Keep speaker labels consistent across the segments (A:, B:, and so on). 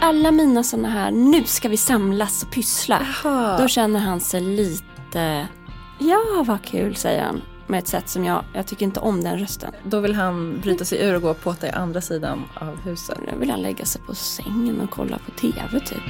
A: alla mina sådana här, nu ska vi samlas och pyssla.
B: Jaha.
A: Då känner han sig lite, ja vad kul säger han. Med ett sätt som jag, jag tycker inte om den rösten.
B: Då vill han bryta sig ur och gå och påta i andra sidan av huset.
A: Nu vill han lägga sig på sängen och kolla på TV typ.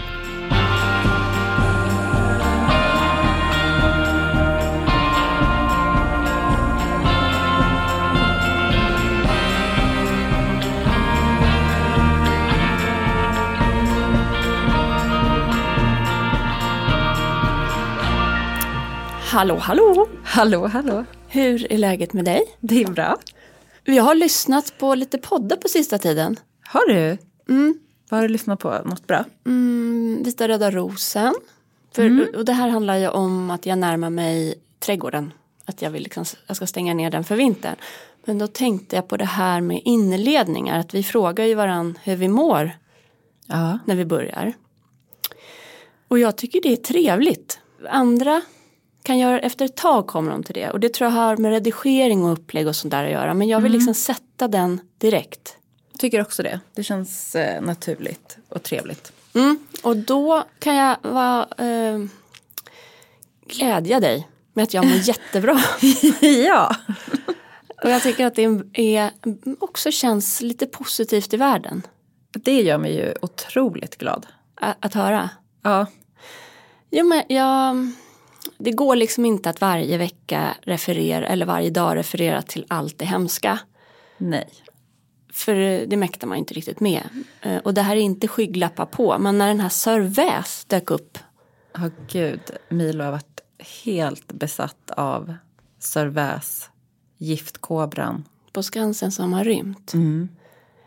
A: Hallå, hallå!
B: Hallå, hallå.
A: Hur är läget med dig?
B: Det är bra.
A: Jag har lyssnat på lite poddar på sista tiden.
B: Har du? Mm. Vad har du lyssnat på? Något bra?
A: Mm, Vita röda rosen. För, Och det här handlar ju om att jag närmar mig trädgården. Att jag, vill liksom, jag ska stänga ner den för vintern. Men då tänkte jag på det här med inledningar. Att vi frågar ju varann hur vi mår
B: Ja.
A: när vi börjar. Och jag tycker det är trevligt. Andra kan göra, efter ett tag kommer de till det. Och det tror jag har med redigering och upplägg och sånt där att göra. Men jag vill liksom sätta den direkt.
B: Tycker också det. Det känns eh, naturligt och trevligt.
A: Mm. Och då kan jag vara, eh, glädja dig med att jag mår jättebra.
B: ja.
A: Och jag tycker att det är, också känns lite positivt i världen
B: Det gör mig ju otroligt glad.
A: att, att höra.
B: Ja.
A: Jo, men jag, det går liksom inte att varje vecka referera eller varje dag referera till allt det hemska.
B: Nej.
A: För det mäktar man inte riktigt med. Eh, Och det här är inte skygglappar på. Men när den här Sir Väs dök upp.
B: Ja, gud. Milo har varit helt besatt av Sörväs, giftkobran.
A: på Skansen som har rymt.
B: Mm.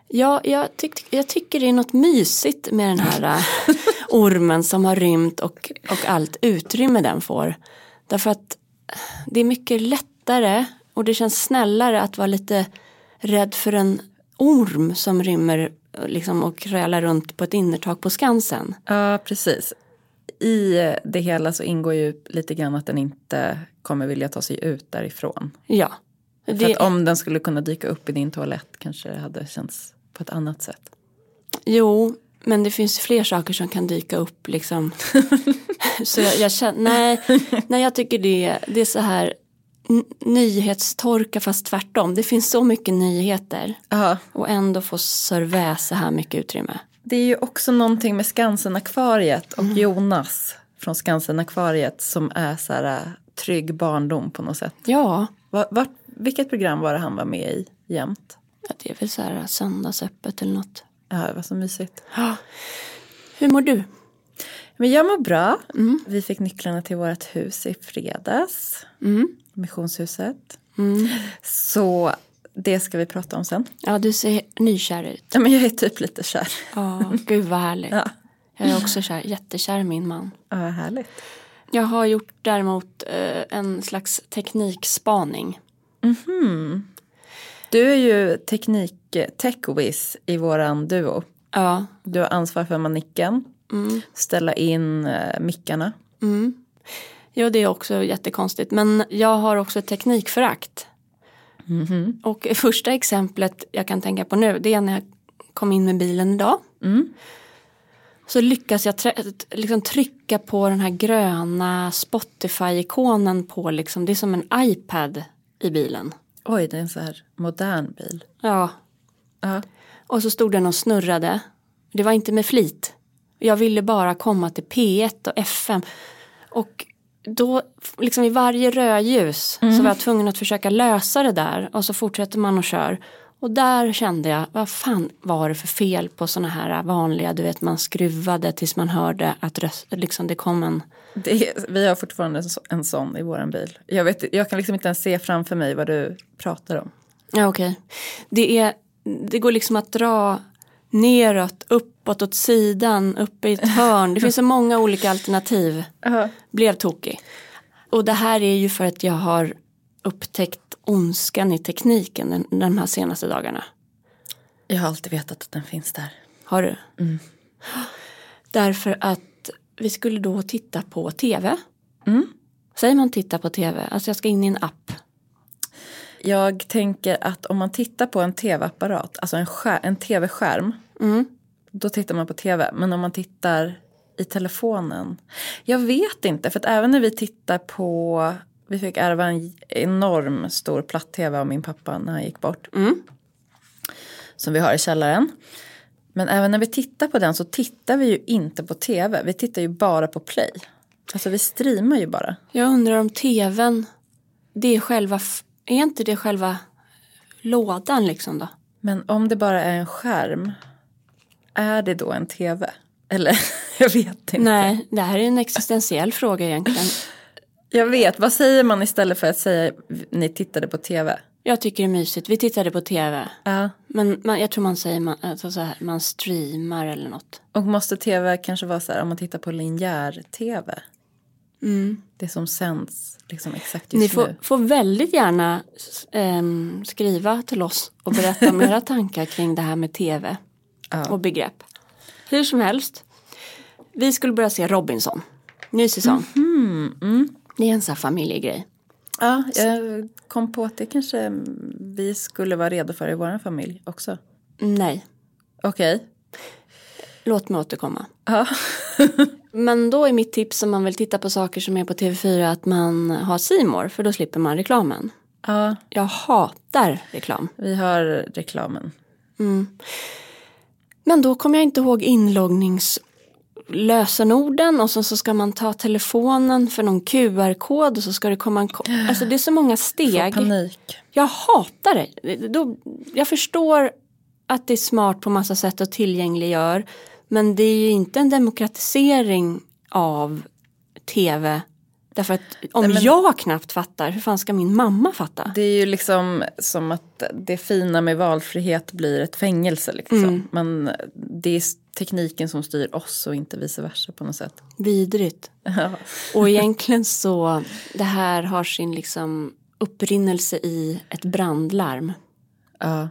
A: Ja, jag, tyck, jag tycker det är något mysigt med den här eh, ormen som har rymt och, och allt utrymme den får. Därför att det är mycket lättare och det känns snällare att vara lite rädd för en orm som rymmer eh, liksom, och krälar runt på ett innertak på Skansen.
B: Ja, precis. I det hela så ingår ju lite grann att den inte kommer vilja ta sig ut därifrån.
A: Ja.
B: För
A: Det,
B: att om den skulle kunna dyka upp i din toalett kanske det hade känts på ett annat sätt.
A: Jo, men det finns fler saker som kan dyka upp liksom. så jag, jag känner, nej, nej jag tycker det, det är så här n- nyhetstorka fast tvärtom. Det finns så mycket nyheter
B: Ja,
A: och ändå får Sörvä så här mycket utrymme.
B: det är ju också någonting med Skansen-akvariet och Jonas från Skansen-akvariet som är så här äh, trygg barndom på något sätt.
A: Ja,
B: Var, vart- vilket program var det han var med i jämt?
A: ja, det är väl så här söndagsöppet eller något.
B: Ja, det var så mysigt.
A: Hur mår du?
B: Men jag mår bra. Vi fick nycklarna till vårt hus i fredags. Missionshuset. Så det ska vi prata om sen.
A: Ja, du ser nykär ut.
B: Ja, men jag är typ lite kär.
A: Ja, gud vad härligt.
B: Ja.
A: Jag är också kär, jättekär i min man.
B: Ja, vad härligt.
A: Jag har gjort däremot eh, en slags teknikspaning.
B: Du är ju teknik techwiz i våran duo.
A: Ja,
B: Du har ansvar för manicken, ställa in eh, mickarna.
A: mm. Jo, det är också jättekonstigt. Men jag har också ett teknikförakt. Och första exemplet jag kan tänka på nu, det är när jag kom in med bilen idag. Så lyckas jag trä- liksom trycka på den här gröna Spotify-ikonen på liksom, det är som en iPad i bilen.
B: Oj, det är en så här modern bil.
A: Ja,
B: Ja.
A: och så stod den och snurrade. Det var inte med flit. Jag ville bara komma till P1 och FM. Och då, liksom i varje rödljus så var jag tvungen att försöka lösa det där. Och så fortsätter man och kör. Och där kände jag, vad fan var det för fel på sådana här vanliga, du vet man skruvade tills man hörde att röst, liksom det kom en
B: Det är, vi har fortfarande en så- en sån i våran bil. Jag, vet, jag kan liksom inte ens se framför mig vad du pratar om.
A: Ja, okej. Det, är, det går liksom att dra neråt, uppåt, åt sidan, uppe i ett hörn. Det finns så många olika alternativ. Blev tokig. Och det här är ju för att jag har upptäckt ondskan i tekniken den- de här senaste dagarna.
B: Jag har alltid vetat att den finns där.
A: Har du? Därför att vi skulle då titta på tv. Säger man titta på tv? Alltså jag ska in i en app.
B: Jag tänker att om man tittar på en tv-apparat, alltså en, skär, en tv-skärm då tittar man på tv. Men om man tittar i telefonen. Jag vet inte, för att även när vi tittar på... Vi fick ärva en enorm stor platt-tv av min pappa när han gick bort.
A: Mm.
B: Som vi har i källaren. Men även när vi tittar på den så tittar vi ju inte på tv. Vi tittar ju bara på play. Alltså vi streamar ju bara.
A: Jag undrar om tvn, det är själva, f- är inte det själva lådan liksom då?
B: Men om det bara är en skärm, är det då en tv? Eller jag vet inte.
A: Nej, det här är en existentiell fråga egentligen.
B: Jag vet, vad säger man istället för att säga ni tittade på tv?
A: Jag tycker det är mysigt, vi tittade på tv.
B: Ja.
A: Men man, jag tror man säger man, alltså så här, man streamar eller något.
B: Och måste tv kanske vara så här, om man tittar på linjär-tv? Det som sänds liksom exakt just
A: Ni får,
B: nu.
A: får väldigt gärna s- ehm, skriva till oss och berätta om era tankar kring det här med tv och begrepp. Hur som helst, vi skulle börja se Robinson, ny säsong. Det är en sån här familjegrej.
B: Ja, jag kom på att det kanske vi skulle vara redo för i vår familj också.
A: Nej,
B: Okej.
A: låt mig återkomma.
B: Ja.
A: Men då är mitt tips om man vill titta på saker som är på TV4 att man har Simor för då slipper man reklamen.
B: ja,
A: Jag hatar reklam.
B: vi har reklamen.
A: Men då kommer jag inte ihåg inloggningslösenorden och sen så ska man ta telefonen för någon QR-kod och så ska det komma en ko- Alltså det är så många steg.
B: Panik.
A: Jag hatar det. Det- Då, jag förstår att det är smart på massa sätt och tillgängliggör. Men det är ju inte en demokratisering av tv. Därför att om
B: Nej, men-
A: jag knappt fattar, hur fan ska min mamma fatta?
B: Det är ju liksom som att det fina med valfrihet blir ett fängelse. Liksom.
A: Mm.
B: Men det är tekniken som styr oss och inte vice versa på något sätt.
A: Vidrigt.
B: Ja.
A: Och egentligen så, det här har sin liksom upprinnelse i ett brandlarm.
B: ja.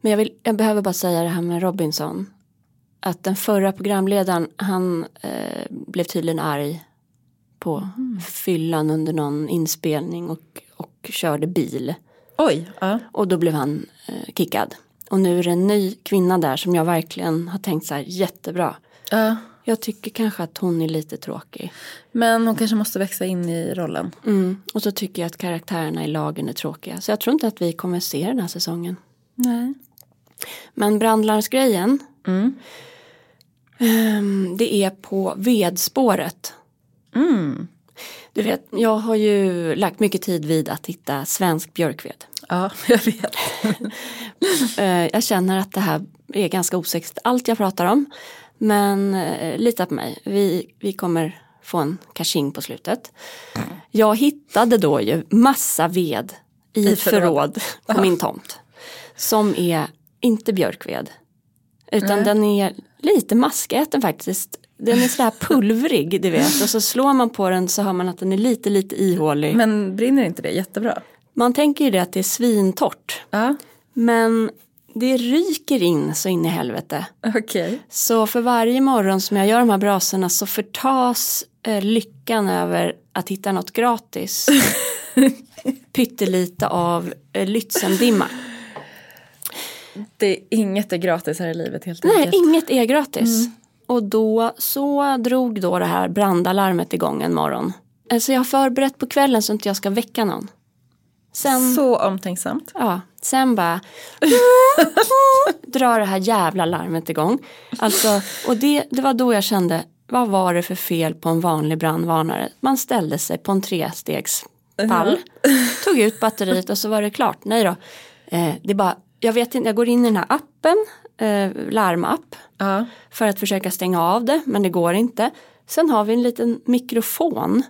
A: Men jag, vill, jag behöver bara säga det här med Robinson. Att den förra programledaren, han eh, blev tydligen arg på fyllan under någon inspelning och, och körde bil.
B: Oj, ja.
A: Och då blev han eh, kickad. Och nu är det en ny kvinna där som jag verkligen har tänkt så här jättebra.
B: ja.
A: Jag tycker kanske att hon är lite tråkig.
B: Men hon kanske måste växa in i rollen.
A: Mm. Och så tycker jag att karaktärerna i lagen är tråkiga. Så jag tror inte att vi kommer se den här säsongen.
B: Nej.
A: Men brandlarmsgrejen. ehm, det är på vedspåret. Du vet, jag har ju lagt mycket tid vid att hitta svensk björkved.
B: Ja, jag vet.
A: Eh, jag känner att det här är ganska osexigt, allt jag pratar om. Men eh, lita på mig, vi, vi kommer få en kaching på slutet. Jag hittade då ju massa ved i, ett
B: förråd.
A: förråd på min tomt. Som är inte björkved. Utan den är lite maskäten faktiskt. Den är sådär pulvrig, du vet. Och så slår man på den så hör man att den är lite, lite ihålig.
B: Men brinner inte det jättebra?
A: Man tänker ju det att det är svintorrt.
B: Ja,
A: Men det ryker in så in i helvete.
B: okej.
A: Så för varje morgon som jag gör de här brasorna så förtas eh, lyckan över att hitta något gratis. Pyttelite av eh, Lützendimma.
B: Det är inget är gratis här i livet helt
A: Nej,
B: enkelt.
A: inget är gratis. Och då så drog då det här brandalarmet igång en morgon. Eh, Så jag har förberett på kvällen så inte jag ska väcka någon. Sen
B: Så omtänksamt.
A: Ja, sen bara drar det här jävla larmet igång. Alltså, och det, det var då jag kände, vad var det för fel på en vanlig brandvarnare? Man ställde sig på en trestegspall, tog ut batteriet och så var det klart. Nej då, eh, det är bara, jag vet inte, jag går in i den här appen, eh, larmapp,
B: Ja.
A: för att försöka stänga av det, men det går inte. Sen har vi en liten mikrofon,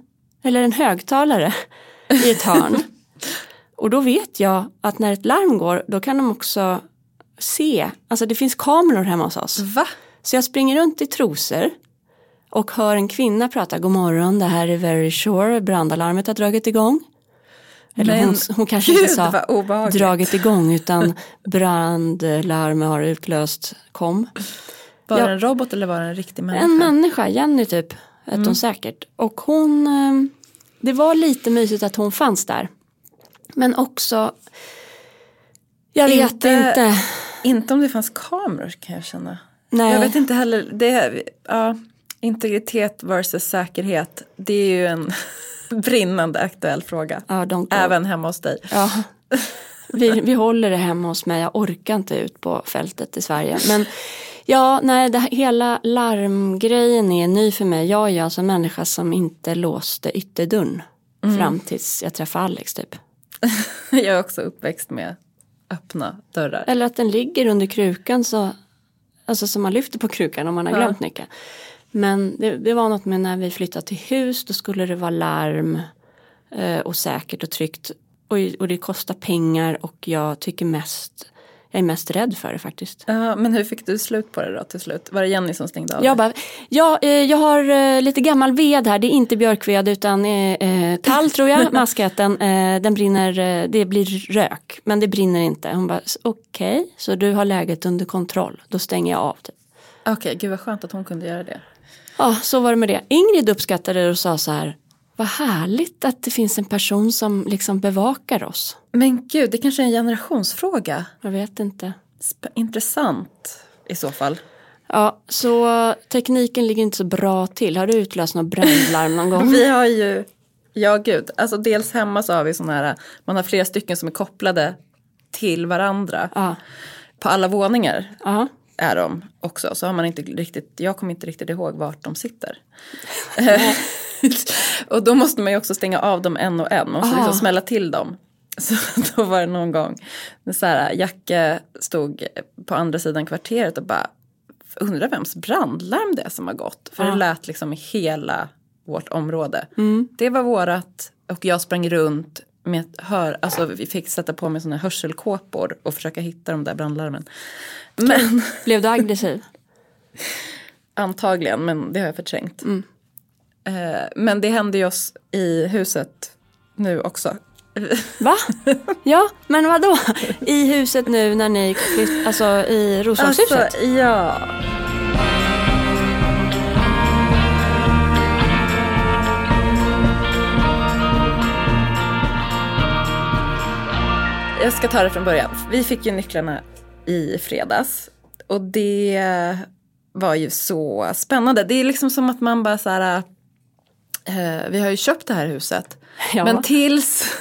A: eller en högtalare, i ett hörn. Och då vet jag att när ett larm går, då kan de också se. Alltså det finns kameror hemma hos oss.
B: Va?
A: Så jag springer runt i trosor och hör en kvinna prata, god morgon, det här är Very Sure, brandalarmet har dragit igång. Eller
B: Men
A: hon, hon kanske inte
B: gud,
A: sa
B: vad obehagligt.
A: dragit igång utan brandlarm har utlöst kom.
B: Var
A: Ja.
B: det en robot eller var det en riktig människa?
A: En människa, Jenny typ, hette hon säkert. Och hon, ehm, det var lite mysigt att hon fanns där. Men också, jag vet
B: Inte-
A: inte.
B: Inte om det fanns kameror kan jag känna.
A: Nej.
B: Jag vet inte heller. Det, ja, integritet versus säkerhet. Det är ju en brinnande aktuell fråga.
A: Ja, de går.
B: Även hemma hos dig.
A: Ja. Vi, vi håller det hemma hos mig, jag orkar inte ut på fältet i Sverige. Men ja, nej, det, här- hela larmgrejen är ny för mig. Jag är ju alltså en människa som inte låste ytterdörren fram tills jag träffade Alex typ.
B: Jag är också uppväxt med öppna dörrar.
A: Eller att den ligger under krukan så, alltså som man lyfter på krukan om man har glömt nyckeln. Men det, det var något med när vi flyttade till hus, då skulle det vara larm eh, och säkert och tryggt. Och, och det kostar pengar och jag tycker mest, jag är mest rädd för det faktiskt.
B: Ja, men hur fick du slut på det då till slut? Var det Jenny som stängde av?
A: Jag
B: dig?
A: bara, ja, eh, jag har eh, lite gammal ved här, det är inte björkved utan eh, eh, tall tror jag, maskäten, eh, den brinner, eh, det blir rök, men det brinner inte. Hon bara, "S- okej, så du har läget under kontroll, då stänger jag av. Typ.
B: Okej, gud vad skönt att hon kunde göra det.
A: Ja, så var det med det. Ingrid uppskattade det och sa så här, vad härligt att det finns en person som liksom bevakar oss.
B: Men gud, det kanske är en generationsfråga.
A: Jag vet inte.
B: Sp- intressant i så fall.
A: Ja, så tekniken ligger inte så bra till. Har du utlöst något brandlarm någon gång?
B: Vi har ju, ja gud, alltså dels hemma så har vi sådana här, man har flera stycken som är kopplade till varandra.
A: Ja.
B: På alla våningar
A: Ja.
B: är de också, så har man inte riktigt, jag kommer inte riktigt ihåg vart de sitter. och då måste man ju också stänga av dem en och en, man måste
A: Ah.
B: liksom smälla till dem. Så då var det någon gång när så här, Jacke stod på andra sidan kvarteret och bara undrar vems brandlarm det är som har gått. För det lät liksom i hela vårt område. Det var vårat och jag sprang runt med ett hör, alltså vi fick sätta på mig såna här hörselkåpor och försöka hitta de där brandlarmen. Men
A: Blev du aggressiv?
B: Antagligen, men det har jag förträngt. Eh, men det hände ju oss i huset nu också.
A: Va? Ja, men vad då? I huset nu när ni flytt, alltså i Roslagshuset?
B: Alltså, ja. Jag ska ta det från början. Vi fick ju nycklarna i fredags. Och det var ju så spännande. Det är liksom som att man bara så här... Eh, vi har ju köpt det här huset.
A: Ja.
B: Men tills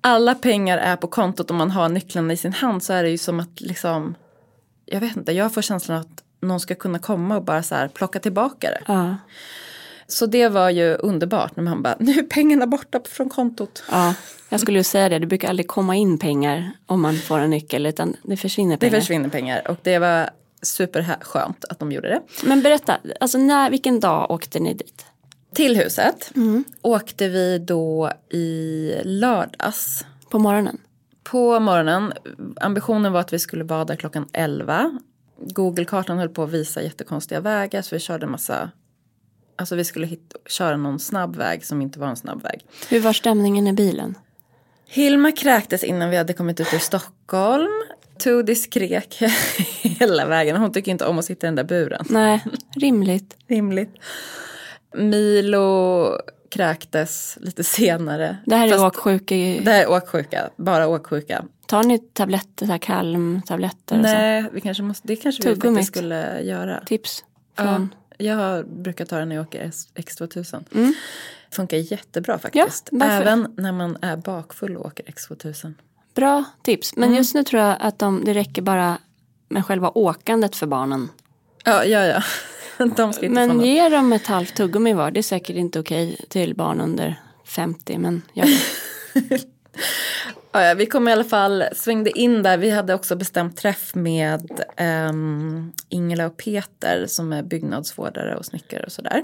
B: alla pengar är på kontot och man har nycklarna i sin hand så är det ju som att liksom, jag vet inte, jag får känslan att någon ska kunna komma och bara så här plocka tillbaka det.
A: ja.
B: Så det var ju underbart när man bara, nu är pengarna borta från kontot.
A: ja, jag skulle ju säga det, det brukar aldrig komma in pengar om man får en nyckel utan det försvinner
B: Det
A: pengar.
B: försvinner pengar och det var superskönt att de gjorde det.
A: Men berätta, alltså när, vilken dag åkte ni dit?
B: Till huset åkte vi då i lördags.
A: På morgonen?
B: På morgonen, ambitionen var att vi skulle vara där klockan 11. Google-kartan höll på att visa jättekonstiga vägar så vi körde en massa... Alltså vi skulle hit, köra någon snabb väg som inte var en snabb väg.
A: Hur var stämningen i bilen?
B: Hilma kräktes innan vi hade kommit ut ur Stockholm. Tudy skrek hela vägen. Hon tycker inte om att sitta i den där buren.
A: Nej, rimligt.
B: Rimligt. Milo kräktes lite senare.
A: Det här är
B: Fast-
A: åksjuka.
B: Det här är åksjuka, bara åksjuka.
A: Tar ni tabletter, så här kalmtabletter och sånt?
B: Nej, vi kanske måste, det kanske vi
A: Tuggummit.
B: faktiskt skulle göra.
A: Tips?
B: Ja,
A: Från... Mm.
B: jag brukar ta den när jag åker S- X2000. Funkar jättebra
A: Ja,
B: faktiskt.
A: varför?
B: Även när man är bakfull och åker X2000.
A: Bra tips, men
B: Mm.
A: just nu tror jag att de, det räcker bara med själva åkandet för barnen.
B: Ja, ja, ja. De ska inte få
A: Men
B: något.
A: ge dem ett halvt tuggummi var, det är säkert inte okej till barn under 50 men jag
B: Ja, ja, vi kom i alla fall, svängde in där. Vi hade också bestämt träff med um, Ingela och Peter som är byggnadsvårdare och snickare och sådär.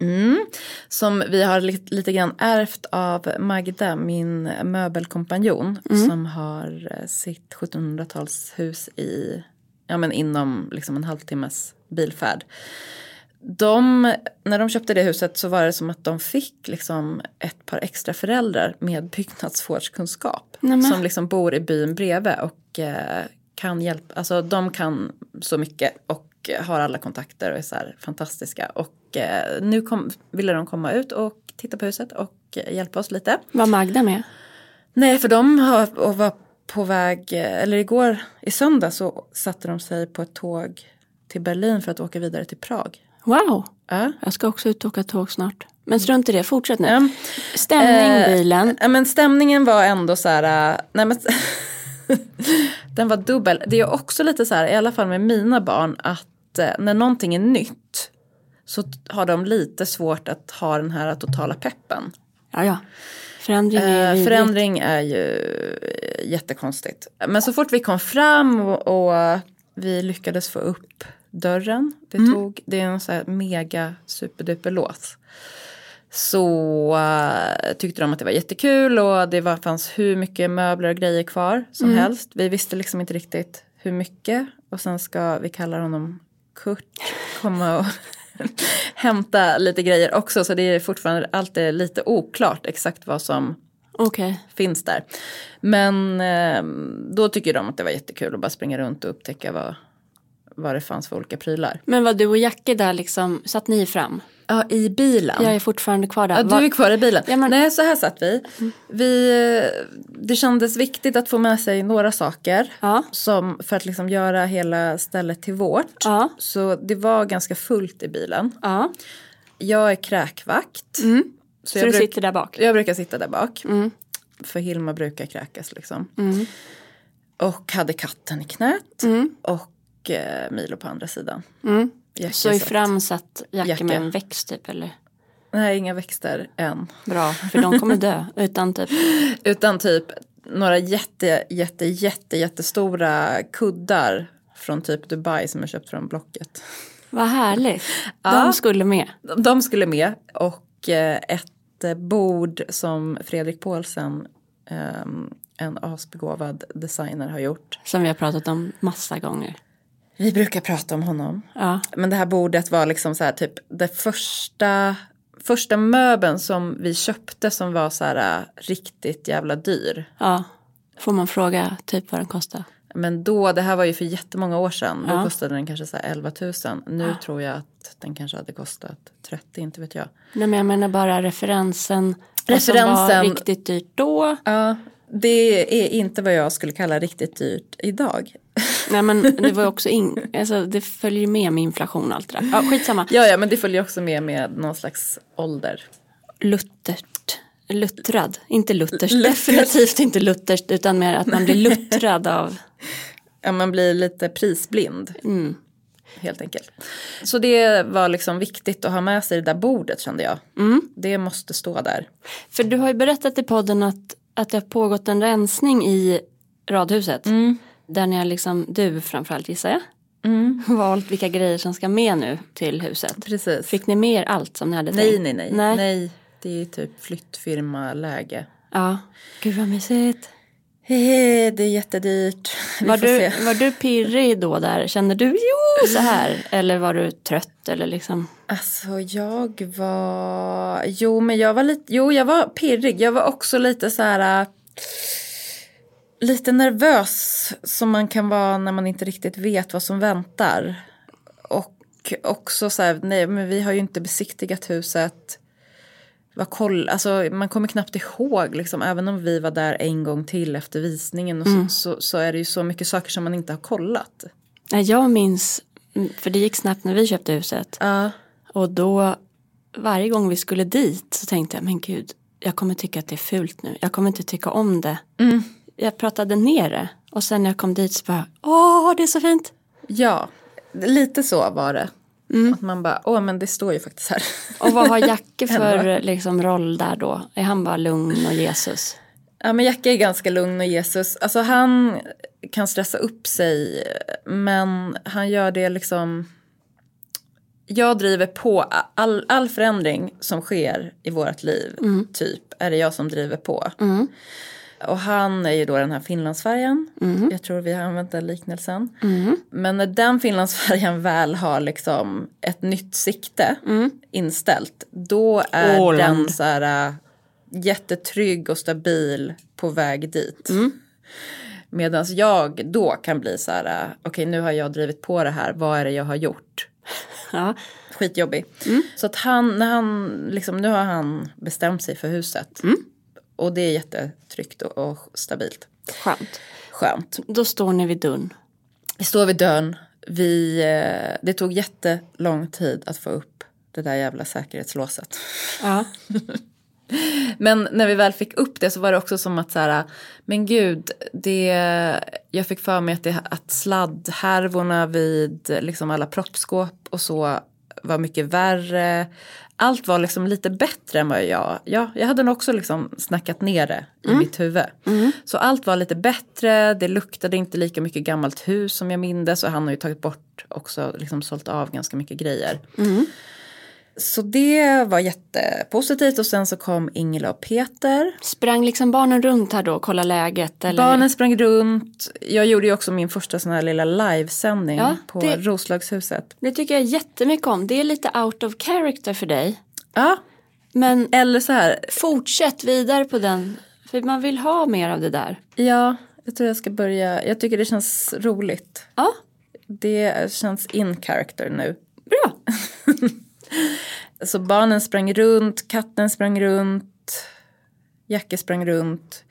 B: Mm. Som vi har lite, lite grann ärvt av Magda, min möbelkompanjon. Som har eh, sitt 1700-talshus i, ja men inom liksom en halvtimmes bilfärd. De, när de köpte det huset så var det som att de fick liksom ett par extra föräldrar med byggnadsvårdskunskap.
A: Nämen.
B: Som liksom bor i byn bredvid och eh, kan hjälpa, alltså de kan så mycket och eh, har alla kontakter och är så här fantastiska. Och eh, nu kom, ville de komma ut och titta på huset och eh, hjälpa oss lite.
A: Var Magda med?
B: Nej, för de har, och var på väg, eller igår i söndag så satte de sig på ett tåg till Berlin för att åka vidare till Prag.
A: Wow,
B: Ja.
A: jag ska också ut och åka tåg snart. Men strunt i det, fortsätt nu.
B: Ja.
A: Stämning,
B: Eh,
A: bilen.
B: Ja, men stämningen var ändå så här... äh, Nej, men, den var dubbel. Det är också lite så här, i alla fall med mina barn, att eh, när någonting är nytt så t- har de lite svårt att ha den här totala peppen.
A: Ja, ja. Förändring är
B: Eh,
A: vidrigt.
B: förändring är ju eh, jättekonstigt. Men så fort vi kom fram och, och vi lyckades få upp dörren. Det,
A: Mm.
B: tog, det är en så här mega superduper lås. Så eh, tyckte de att det var jättekul och det var, fanns hur mycket möbler och grejer kvar som
A: Mm.
B: helst. Vi visste liksom inte riktigt hur mycket. Och sen ska vi kalla honom Kurt komma och hämta lite grejer också. Så det är fortfarande alltid lite oklart exakt vad som
A: Okej.
B: finns där. Men eh, då tycker de att det var jättekul att bara springa runt och upptäcka vad, vad det fanns för olika prylar.
A: Men var du och Jackie där liksom, satt ni fram?
B: Ja, i bilen.
A: Jag är fortfarande kvar där.
B: Ja,
A: Var-
B: du är kvar i bilen.
A: Ja, men-
B: Nej, så här satt vi. vi. eh, Det kändes viktigt att få med sig några saker
A: Ja.
B: som, för att liksom göra hela stället till vårt.
A: Ja.
B: Så det var ganska fullt i bilen.
A: Ja.
B: Jag är kräkvakt.
A: Så,
B: jag
A: du
B: bruk-
A: sitter där bak? Mm,
B: Jag brukar sitta där bak. För Hilma brukar kräkas liksom. Och hade katten i knät.
A: Mm.
B: Och eh, Milo på andra sidan. Jackie
A: Så i
B: satt-
A: fram satt Jackie,
B: Jacke.
A: med en växt typ eller?
B: Nej, inga växter än.
A: Bra, för de kommer dö. Utan typ,
B: Utan typ några jätte, jätte, jätte, jättestora kuddar från typ Dubai som är köpt från Blocket.
A: vad härligt.
B: Ja.
A: De skulle med.
B: De skulle med och eh, ett eh, bord som Fredrik Paulsen, ehm, en asbegåvad designer, har gjort.
A: Som vi har pratat om massa gånger.
B: Vi brukar prata om honom.
A: Ja.
B: Men det här bordet var liksom så här typ det första, första möbeln som vi köpte som var så här äh, riktigt jävla dyr.
A: ja. Får man fråga typ vad den kostar?
B: Men då, det här var ju för jättemånga år sedan, då kostade den kanske så här 11 000. Nu tror jag att den kanske hade kostat 30, inte vet jag.
A: Nej men jag menar bara referensen. Vad som var
B: Referensen.
A: riktigt dyrt då.
B: Ja, det är inte vad jag skulle kalla riktigt dyrt idag.
A: Nej men det var ju också in, alltså, det följer ju med med inflation och allt det där. Ja, skitsamma.
B: Ja, ja, men det följer också med med någon slags ålder.
A: Luttert. Luttrad, inte lutters, definitivt inte lutters utan mer att man blir luttrad av
B: Ja, man blir lite prisblind. Helt enkelt. Så det var liksom viktigt att ha med sig det där bordet kände jag. Det måste stå där.
A: För du har ju berättat i podden att, att det har pågått en rensning i radhuset.
B: Mm.
A: Där ni har liksom, du framförallt gissar jag,
B: Mm.
A: valt vilka grejer som ska med nu till huset.
B: Precis.
A: Fick ni med er allt som ni hade
B: nej,
A: tänkt?
B: nej, nej,
A: nej.
B: nej. det är typ flyttfirma-läge.
A: Ja. Gud vad mysigt.
B: Hehe, det är jättedyrt. Vi
A: Var
B: får
A: du,
B: se.
A: var du pirrig då där? Kände du jo så här? Eller var du trött eller liksom?
B: Alltså jag var... Jo, men jag var lite... Jo, jag var pirrig. Jag var också lite så här... äh, Lite nervös som man kan vara när man inte riktigt vet vad som väntar. Och också så här, nej men vi har ju inte besiktigat huset. Vad koll, alltså, man kommer knappt ihåg, liksom, även om vi var där en gång till efter visningen och så, så, så är det ju så mycket saker som man inte har kollat.
A: Nej, jag minns, mm, för det gick snabbt när vi köpte huset.
B: Ja.
A: Och då, varje gång vi skulle dit så tänkte jag, men gud, jag kommer tycka att det är fult nu. Jag kommer inte tycka om det. Jag pratade ner det. Och sen när jag kom dit så bara, åh, det är så fint.
B: Ja, lite så var det. Att man bara, åh men det står ju faktiskt här.
A: Och vad har Jacke för liksom, roll där då? Är han bara lugn och Jesus?
B: Ja men Jacka är ganska lugn och Jesus, alltså han kan stressa upp sig men han gör det liksom jag driver på all, all förändring som sker i vårt liv, typ, är det jag som driver på. Och han är ju då den här finlandsfärjan. Jag tror vi har använt den liknelsen. Men när den finlandsfärjan väl har liksom ett nytt sikte inställt, då är
A: Åland.
B: den så här äh, jättetrygg och stabil på väg dit. Medan jag då kan bli så här, äh, okej nu har jag drivit på det här, vad är det jag har gjort?
A: Ja,
B: skitjobbig. Så att han, när han, liksom, nu har han bestämt sig för huset. Och det är jättetryggt och, och stabilt.
A: skönt.
B: Skönt.
A: Då står ni vid dörren.
B: Vi står vid dörren. Vi, eh, det tog jättelång tid att få upp det där jävla säkerhetslåset.
A: Ja.
B: Men när vi väl fick upp det så var det också som att så här, men gud, det, jag fick för mig att, det, att sladdhärvorna vid liksom alla proppskåp och så var mycket värre. Allt var liksom lite bättre än vad jag, ja, jag hade nog också liksom snackat ner det i mitt huvud. Så allt var lite bättre, det luktade inte lika mycket gammalt hus som jag mindes och han har ju tagit bort också, liksom sålt av ganska mycket grejer. Så det var jättepositivt och sen så kom Ingela och Peter.
A: Sprang liksom barnen runt här då och kollade läget? Eller?
B: Barnen sprang runt. Jag gjorde ju också min första sån här lilla livesändning
A: Ja,
B: på
A: det-
B: Roslagshuset.
A: Det tycker jag jättemycket om. Det är lite out of character för dig.
B: Ja,
A: Men
B: eller så här.
A: fortsätt vidare på den. För man vill ha mer av det där.
B: Ja, jag tror jag ska börja. Jag tycker det känns roligt.
A: Ja,
B: Det känns in character nu.
A: bra.
B: Så barnen sprang runt, katten sprang runt, Jacke sprang runt.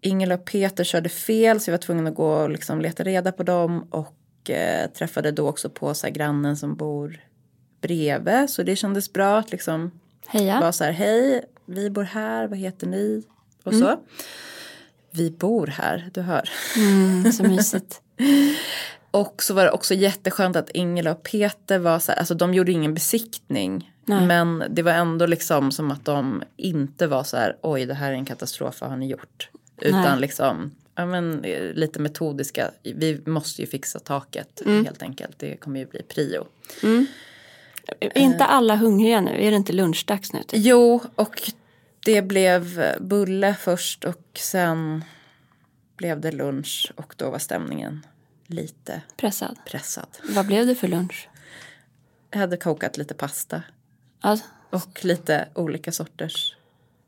B: Ingela och Peter körde fel så jag var tvungen att gå och liksom leta reda på dem och eh, träffade då också på så här, grannen som bor bredvid så det kändes bra att liksom
A: Heja.
B: vara så här hej, vi bor här, vad heter ni? Och så. Vi bor här, du hör.
A: Mm, så mysigt.
B: Och så var det också jätteskönt att Ingela och Peter var så här, alltså de gjorde ingen besiktning.
A: Nej.
B: Men det var ändå liksom som att de inte var så här, oj det här är en katastrof, vad har ni gjort? Utan
A: Nej.
B: liksom, ja men eh, lite metodiska, vi måste ju fixa taket
A: Mm.
B: helt enkelt, det kommer ju bli prio. Eh.
A: Är inte alla hungriga nu? Är det inte lunchdags nu? typ?
B: Jo, och det blev bulle först och sen blev det lunch och då var stämningen lite
A: Pressad.
B: pressad.
A: Vad blev det för lunch?
B: Jag hade kokat lite pasta
A: Ja,
B: Och lite olika sorters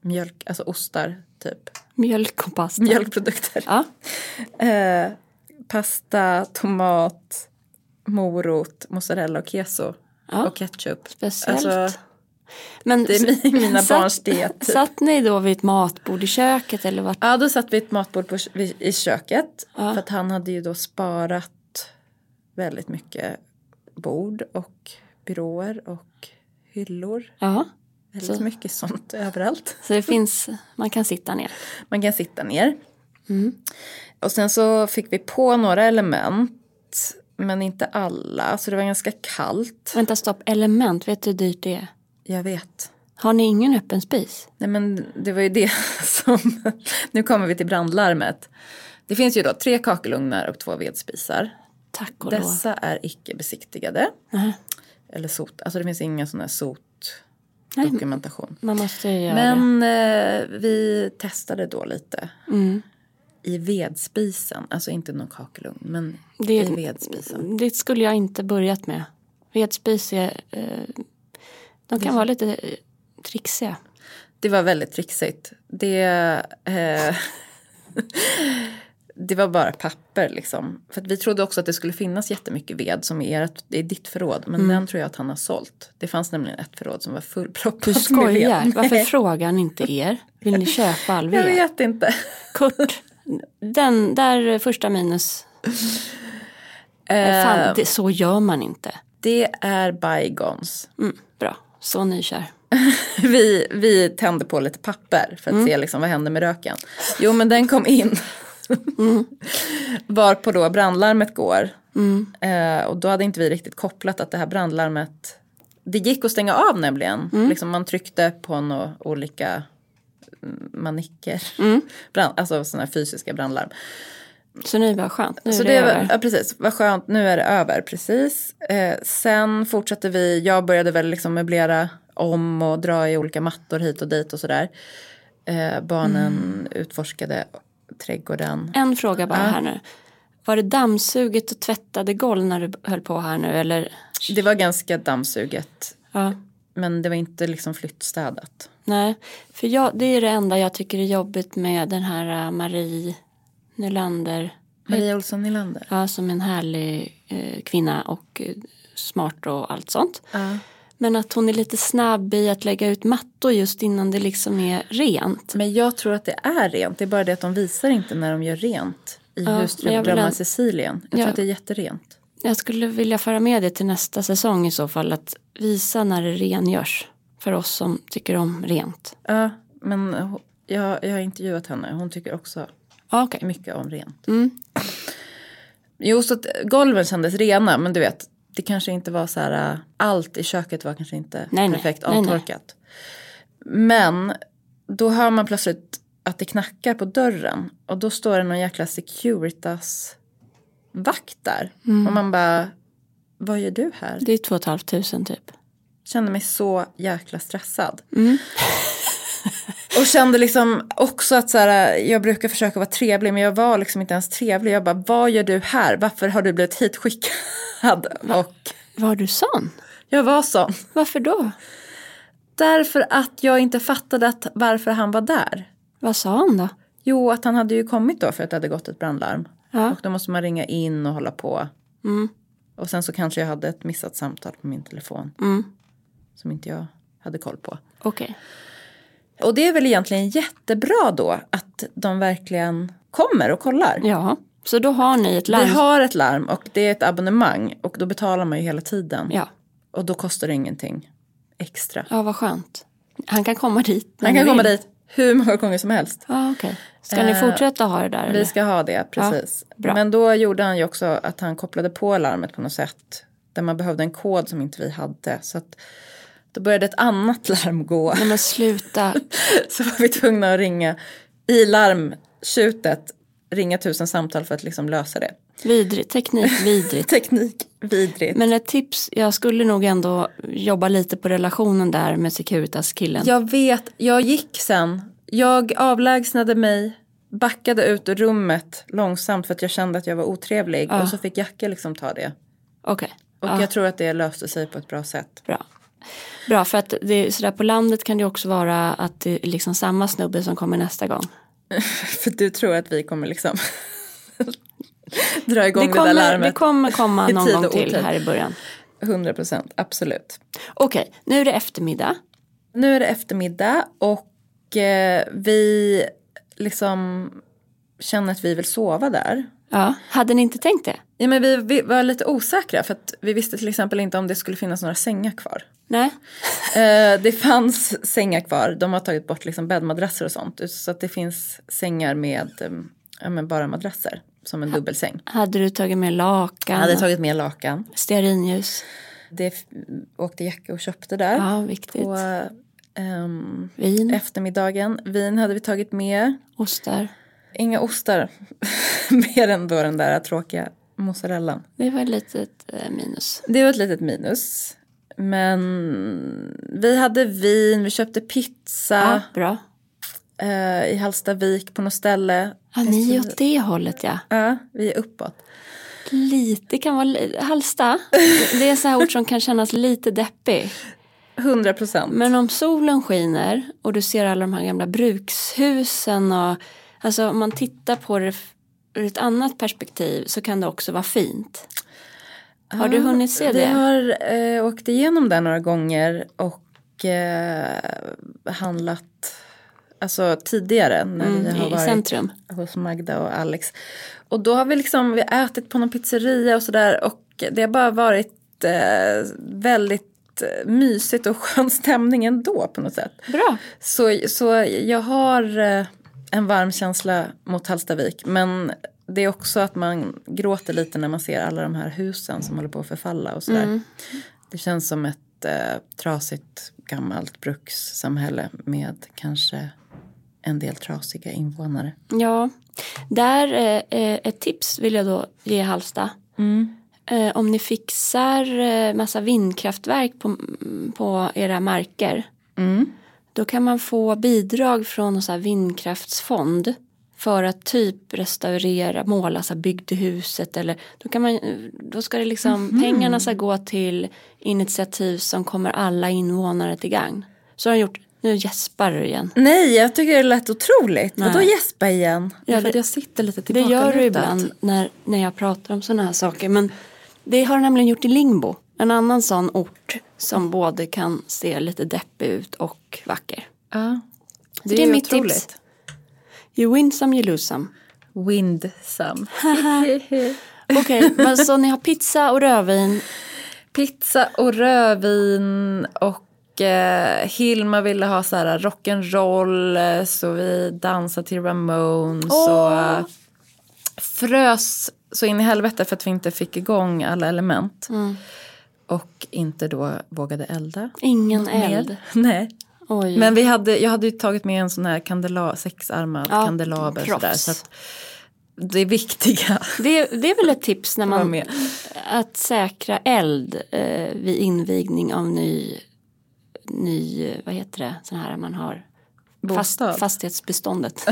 B: mjölk, alltså ostar typ.
A: mjölk och pasta.
B: Mm. Mjölkprodukter.
A: Ja,
B: Eh, pasta, tomat, morot, mozzarella och keso.
A: Ja.
B: Och ketchup.
A: speciellt.
B: Alltså,
A: Men
B: det är mi- mina
A: satt-
B: barns diet. Typ.
A: Satt ni då vid ett matbord i köket eller vart?
B: Ja, då satt vi ett matbord på, vid- i köket.
A: Ja.
B: För att han hade ju då sparat väldigt mycket bord och byråer och hyllor.
A: Ja,
B: Väldigt
A: Så.
B: mycket sånt överallt.
A: så det finns, man kan sitta ner.
B: Man kan sitta ner.
A: Mm.
B: Och sen så fick vi på några element, men inte alla, så det var ganska kallt.
A: Vänta, stopp, element, vet du hur dyrt det är?
B: Jag vet.
A: Har ni ingen öppen spis?
B: Nej men det var ju det som... Nu kommer vi till brandlarmet. Det finns ju då tre kakelugnar och två vedspisar.
A: Tack och lov.
B: Dessa är icke besiktigade.
A: Nej,
B: Eller sot. Alltså det finns inga sådana här sotdokumentation.
A: man måste ju göra det.
B: Men eh, vi testade då lite
A: Mm.
B: i vedspisen. Alltså inte någon kakelugn, men
A: Det-
B: i vedspisen.
A: Det skulle jag inte börjat med. Vedspis är, eh, de kan vara lite eh, trixiga.
B: Det var väldigt trixigt. Det, eh, det var bara papper liksom. För att vi trodde också att det skulle finnas jättemycket ved som är, ert, det är ditt förråd. Men den tror jag att han har sålt. Det fanns nämligen ett förråd som var fullproppat
A: Du
B: med ved.
A: skojar, varför
B: Nej,
A: frågar han inte er? Vill ni köpa all
B: Jag
A: ved?
B: vet inte.
A: Kurt, den där första minus. Eh,
B: Ehm.
A: Fan, det, så gör man inte.
B: Det är bygons.
A: Mm, bra, så nykär.
B: Vi, vi tände på lite papper för att se liksom, vad hände med röken. Jo men den kom in. Varpå då brandlarmet går. Eh, och då hade inte vi riktigt kopplat att det här brandlarmet. Det gick att stänga av nämligen. Liksom, man tryckte på några olika mm, manicker. Brand, alltså sådana här fysiska brandlarm.
A: Så nu var skönt, nu
B: Så
A: är det,
B: det var,
A: över.
B: ja, precis, vad skönt, nu är det över, precis. Eh, sen fortsatte vi, jag började väl liksom möblera om och dra i olika mattor hit och dit och sådär. Eh, barnen
A: Mm.
B: utforskade trädgården.
A: En fråga bara här nu. Var det dammsuget och tvättade golv när du höll på här nu eller?
B: Det var ganska dammsuget,
A: Ja,
B: men det var inte liksom flyttstädat.
A: nej. För jag, det är det enda jag tycker är jobbigt med den här eh, Marie Nylander.
B: Maria Olsson Nylander.
A: Ja, som en härlig eh, kvinna och eh, smart och allt sånt.
B: Ja.
A: Men att hon är lite snabb i att lägga ut mattor just innan det liksom är rent.
B: Men jag tror att det är rent, det är bara det att de visar inte när de gör rent i
A: men jag vill
B: husträdgården
A: en-
B: Sicilien. Jag
A: Ja.
B: tror att det är jätterent.
A: Jag skulle vilja föra med det till nästa säsong i så fall. Att visa när det rengörs. För oss som tycker om rent.
B: Ja, men ho- jag, jag har intervjuat henne. Hon tycker också
A: Ja, okej.
B: mycket om rent.
A: Mm.
B: Jo, så att golven kändes rena, men du vet, det kanske inte var så här, äh, allt i köket var kanske inte
A: Nej, nej.
B: perfekt
A: Nej, nej.
B: avtorkat. Men då hör man plötsligt att det knackar på dörren och då står det någon jäkla Securitas-vakt där.
A: Mm.
B: Och man bara, vad gör du här?
A: Det är två och ett halvt tusen typ.
B: Kände mig så jäkla stressad. och kände liksom också att så här, jag brukar försöka vara trevlig men jag var liksom inte ens trevlig. Jag bara, vad gör du här? Varför har du blivit hitskickad? Och
A: Var du sån?
B: jag var sån.
A: Varför då?
B: Därför att jag inte fattade att varför han var där.
A: Vad sa han då?
B: Jo, att han hade ju kommit då för att det hade gått ett brandlarm.
A: Ja.
B: Och då måste man ringa in och hålla på.
A: Mm.
B: Och sen så kanske jag hade ett missat samtal på min telefon
A: Mm.
B: som inte jag hade koll på.
A: Okej.
B: Och det är väl egentligen jättebra då att de verkligen kommer och kollar.
A: Ja. Så då har ni ett larm.
B: Vi har ett larm och det är ett abonnemang och då betalar man ju hela tiden.
A: Ja.
B: Och då kostar det ingenting extra.
A: ja, vad skönt. Han kan komma dit. när
B: Man
A: ni
B: kan komma
A: vill.
B: dit hur många gånger som helst.
A: Ja, okej. Ska ni
B: Eh,
A: fortsätta ha det där? Eller?
B: Vi ska ha det, precis.
A: bra.
B: Men då gjorde han ju också att han kopplade på larmet på något sätt. Där man behövde en kod som inte vi hade. Så att då började ett annat larm gå.
A: Nej, men sluta.
B: så var vi tvungna att ringa i larmtjutet, ringa tusen samtal för att liksom lösa det.
A: Vidrigt. Teknik vidrigt.
B: Teknik, vidrigt.
A: Men ett tips, jag skulle nog ändå jobba lite på relationen där med Securitas-killen.
B: Jag vet, jag gick sen. Jag avlägsnade mig, backade ut ur rummet långsamt för att jag kände att jag var otrevlig. Och så fick Jacke liksom ta det.
A: Okej,
B: Och jag tror att det löste sig på ett bra sätt.
A: bra. Bra, för att det, sådär på landet kan det också vara att det är liksom samma snubbe som kommer nästa gång.
B: För du tror att vi kommer liksom dra igång
A: Det
B: det, där
A: kommer, det
B: larmet.
A: kommer komma
B: I
A: någon
B: tid
A: gång
B: och
A: till
B: otid.
A: här i början.
B: 100 procent, absolut.
A: Okej, nu är det eftermiddag.
B: Nu är det eftermiddag och eh, vi liksom känner att vi vill sova där.
A: Ja, hade ni inte tänkt det?
B: Ja, men vi, vi var lite osäkra för att vi visste till exempel inte om det skulle finnas några sängar kvar.
A: Nej,
B: Eh, det fanns sängar kvar, de har tagit bort liksom bäddmadrasser och sånt. Så att det finns sängar med eh, ja, men bara madrasser, som en dubbelsäng.
A: hade du tagit med
B: Jag
A: lakan,
B: hade tagit med lakan.
A: stearinljus?
B: Det f- åkte Jacke och köpte där.
A: Ja, viktigt.
B: På ehm,
A: Vin,
B: eftermiddagen. Vin hade vi tagit med.
A: ostar.
B: Inga ostar. Mer än då den där tråkiga mozzarellan.
A: Det var ett litet eh, minus.
B: Det var ett litet minus. Men vi hade vin, vi köpte pizza
A: Ja, bra.
B: eh, i Hallstavik på något ställe.
A: Ja, ni är åt det hållet ja.
B: Ja, vi är uppåt.
A: Lite, det kan vara li- Hallsta. Det- Det är så här ort som kan kännas lite deppig.
B: 100 procent.
A: Men om solen skiner och du ser alla de här gamla brukshusen och alltså om man tittar på det f- ur ett annat perspektiv så kan det också vara fint. Har du hunnit se
B: Vi
A: det?
B: har eh, åkt igenom där några gånger och eh, handlat alltså, tidigare när vi har
A: Mm, I
B: varit
A: centrum.
B: hos Magda och Alex. Och då har vi liksom vi har ätit på någon pizzeria och sådär och det har bara varit eh, väldigt eh, mysigt och skön stämning ändå på något sätt.
A: Bra.
B: Så, så jag har eh, en varm känsla mot Hallstavik men det är också att man gråter lite när man ser alla de här husen som håller på att förfalla och sådär. Det känns som ett eh, trasigt gammalt brukssamhälle med kanske en del trasiga invånare.
A: Ja, där eh, eh, ett tips vill jag då ge Halsta. Eh, om ni fixar eh, massa vindkraftverk på, mm, på era marker.
B: Mm.
A: Då kan man få bidrag från en sån här vindkraftsfond för att typ restaurera, måla, så här bygdehuset eller då kan man, eh, då ska det liksom, pengarna ska gå till initiativ som kommer alla invånare till gagn. Så har de gjort, nu gäspar du igen.
B: Nej, jag tycker det lät otroligt.
A: Nej.
B: Vadå gäspa igen?
A: Ja,
B: Ja, för
A: det-
B: att jag sitter lite
A: Det
B: tillbaka
A: gör du ibland när, när jag pratar om sådana här saker. Men det har de nämligen gjort i Lingbo. En annan sån ort som både kan se lite deppig ut och vacker.
B: Ja.
A: Det, är, mitt tips. You win some, you lose some.
B: Windsam.
A: Okej, men så ni har pizza och rödvin.
B: Pizza och rödvin och eh, Hilma ville ha så här rock'n'roll eh, så vi dansade till Ramones och
A: Åh.
B: eh, frös så in i helvete för att vi inte fick igång alla element. Och inte då vågade elda.
A: Ingen
B: mer.
A: eld.
B: Nej.
A: Oj.
B: Men vi hade, jag hade ju tagit med en sån här kandela, sexarmad
A: Ja,
B: kandelaber. Så där,
A: proffs.
B: så att det viktiga
A: det, det är väl ett tips när
B: var
A: man,
B: med.
A: att säkra eld eh, vid invigning av ny, ny, vad heter det, sån här man har fast,
B: Bostad.
A: fastighetsbeståndet.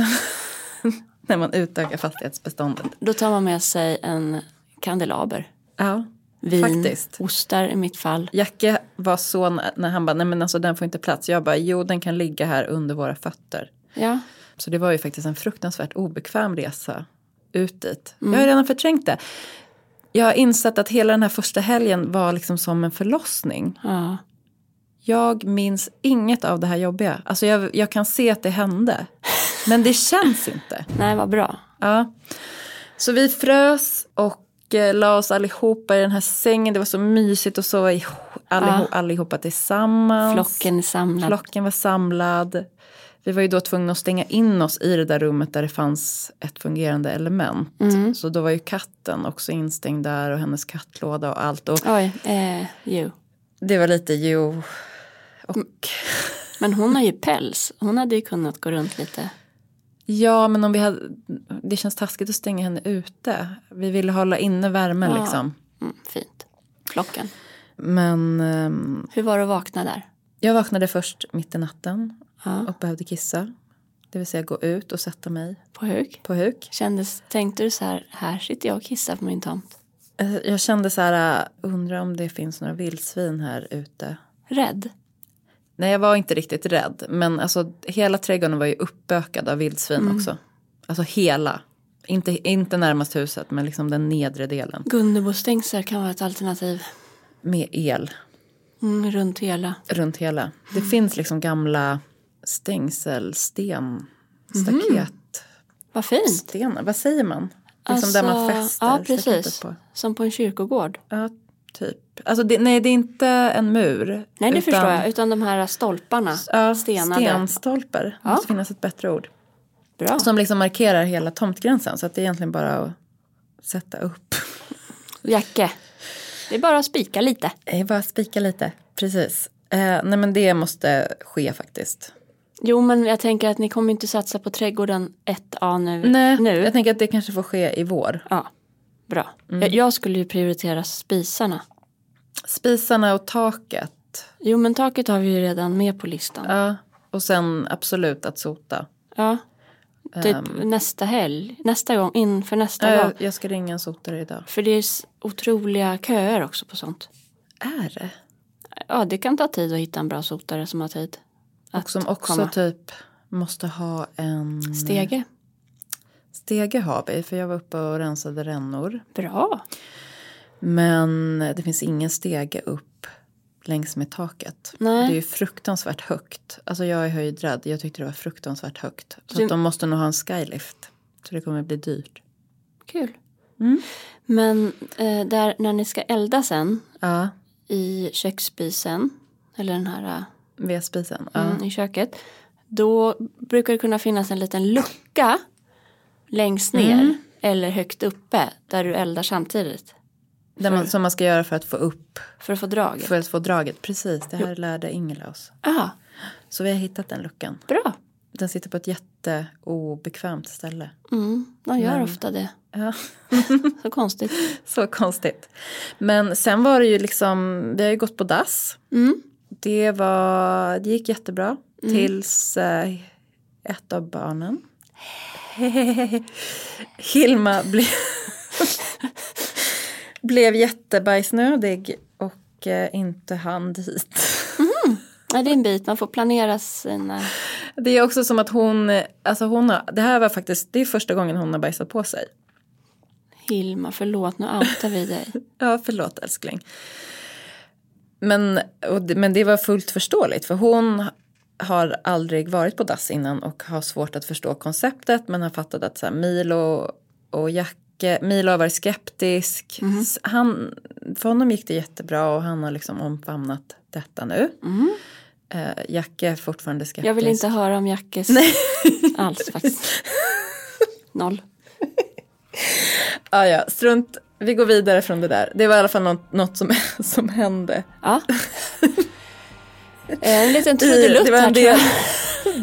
B: När man utökar fastighetsbeståndet.
A: Då tar man med sig en kandelaber.
B: Ja,
A: Vin,
B: faktiskt.
A: ostar i mitt fall.
B: Jacke var så när när han bara, nej men alltså den får inte plats. Jag bara, jo den kan ligga här under våra fötter.
A: Ja,
B: Så det var ju faktiskt en fruktansvärt obekväm resa ut dit. Jag har
A: Mm.
B: ju redan förträngt det. Jag har insett att hela den här första helgen var liksom som en förlossning.
A: ja.
B: Jag minns inget av det här jobbiga. Alltså jag, jag kan se att det hände. Men det känns inte.
A: nej vad bra.
B: Ja. Så vi frös och eh, la oss allihopa i den här sängen. Det var så mysigt att sova ihop, allihop, allihopa tillsammans.
A: Flocken är samlad.
B: Flocken var samlad. Vi var ju då tvungna att stänga in oss i det där rummet där det fanns ett fungerande
A: Mm.
B: element. Så då var ju katten också instängd där och hennes kattlåda och allt. Och
A: Oj, eh, jo.
B: det var lite jo och...
A: Men hon har ju päls. Hon hade ju kunnat gå runt lite.
B: Ja, men om vi hade... Det känns taskigt att stänga henne ute. Vi ville hålla inne värmen
A: Ja.
B: liksom.
A: Mm, fint. Flocken.
B: Men ehm,
A: Hur var det att vakna där?
B: jag vaknade först mitt i natten
A: Ja.
B: och behövde kissa. Det vill säga gå ut och sätta mig
A: På huk?
B: på huk.
A: Kändes, tänkte du så här, här sitter jag och kissar på min tomt.
B: Eh, Jag kände så här, äh, undrar om det finns några vildsvin här ute.
A: Rädd?
B: Nej, jag var inte riktigt rädd. Men alltså hela trädgården var ju uppbökad av vildsvin också. Alltså hela. Inte, inte närmast huset, men liksom den nedre delen.
A: Gunnebostängsel kan vara ett alternativ.
B: Med el.
A: Mm, runt hela.
B: runt hela. Det
A: Mm.
B: finns liksom gamla stängselsten,
A: Mhm.
B: staketstenar.
A: Vad fint.
B: Vad säger man? Liksom där man fäster
A: Alltså, Ja,
B: staketet
A: precis.
B: på.
A: Som på en kyrkogård.
B: Ja, typ. Alltså det, nej, det är inte en mur.
A: Nej, det
B: utan-
A: förstår jag. Utan de här stolparna.
B: Ja,
A: stenade.
B: Stenstolpar. Det
A: Ja.
B: måste finnas ett bättre ord.
A: Bra.
B: Som liksom markerar hela tomtgränsen. Så att det är egentligen bara att sätta upp.
A: Jacke. Det är bara att spika lite.
B: Nej, bara spika lite. Precis. Eh, nej, men det måste ske faktiskt.
A: Jo, men jag tänker att ni kommer inte satsa på trädgården 1A nu.
B: Nej,
A: nu.
B: jag tänker att det kanske får ske i vår.
A: Ja, bra. Jag, jag skulle ju prioritera spisarna.
B: Spisarna och taket.
A: Jo, men taket har vi ju redan med på listan.
B: Ja, och sen absolut att sota.
A: Ja. Typ nästa helg, nästa gång, inför nästa
B: Ja,
A: gång.
B: jag, jag ska ringa en sotare idag.
A: För det är s- otroliga köer också på sånt.
B: Är det?
A: Ja, det kan ta tid att hitta en bra sotare som har tid.
B: Och som också
A: komma.
B: typ måste ha en...
A: Stege.
B: Stege har vi, för jag var uppe och rensade rännor.
A: Bra.
B: Men det finns ingen stege upp längs med taket.
A: Nej.
B: Det är ju fruktansvärt högt. Alltså jag är höjdrädd, jag tyckte det var fruktansvärt högt. Så
A: Du-
B: att de måste nog ha en skylift. Så det kommer bli dyrt.
A: Kul. Mm. Men eh, där, när ni ska elda sen
B: Ja,
A: i köksspisen, eller den här eh,
B: vedspisen. Ja.
A: mm, i köket. Då brukar det kunna finnas en liten lucka längst
B: Mm.
A: ner eller högt uppe där du eldar samtidigt
B: Där man, som man ska göra för att få upp,
A: för att få drag.
B: för att få draget. Precis, det här lärde Ingela oss.
A: Ah,
B: Så vi har hittat den luckan.
A: bra.
B: Den sitter på ett jätteobekvämt ställe.
A: Mm, de gör ofta det.
B: Ja.
A: Så konstigt.
B: Så konstigt. Men sen var det ju liksom, vi har ju gått på dass.
A: Mm.
B: Det, var, det gick jättebra tills eh, ett av barnen, Hilma, blev, blev jättebajsnödig och eh, inte hann dit.
A: Nej, det är en bit. Man får planera sina...
B: Det är också som att hon, alltså hon har, det här var faktiskt, det är första gången hon har bajsat på sig.
A: Hilma, förlåt, nu outar vi dig.
B: Ja, förlåt älskling. Men, och det, men det var fullt förståeligt för hon har aldrig varit på dass innan och har svårt att förstå konceptet men har fattat att så här, Milo och Jack eh, Milo har varit skeptisk.
A: Mm-hmm.
B: S- Han, för honom gick det jättebra och han har liksom omfamnat detta nu. Eh, Jacke är fortfarande skeptisk.
A: Mm-hmm. Jag vill inte höra om Jackes alls faktiskt. Noll.
B: Ah, ja, strunt. Vi går vidare från det där. Det var i alla fall något, något som, som hände.
A: Ja. Eh, En liten
B: I-
A: trudelutt
B: Det var
A: här
B: en
A: tror jag.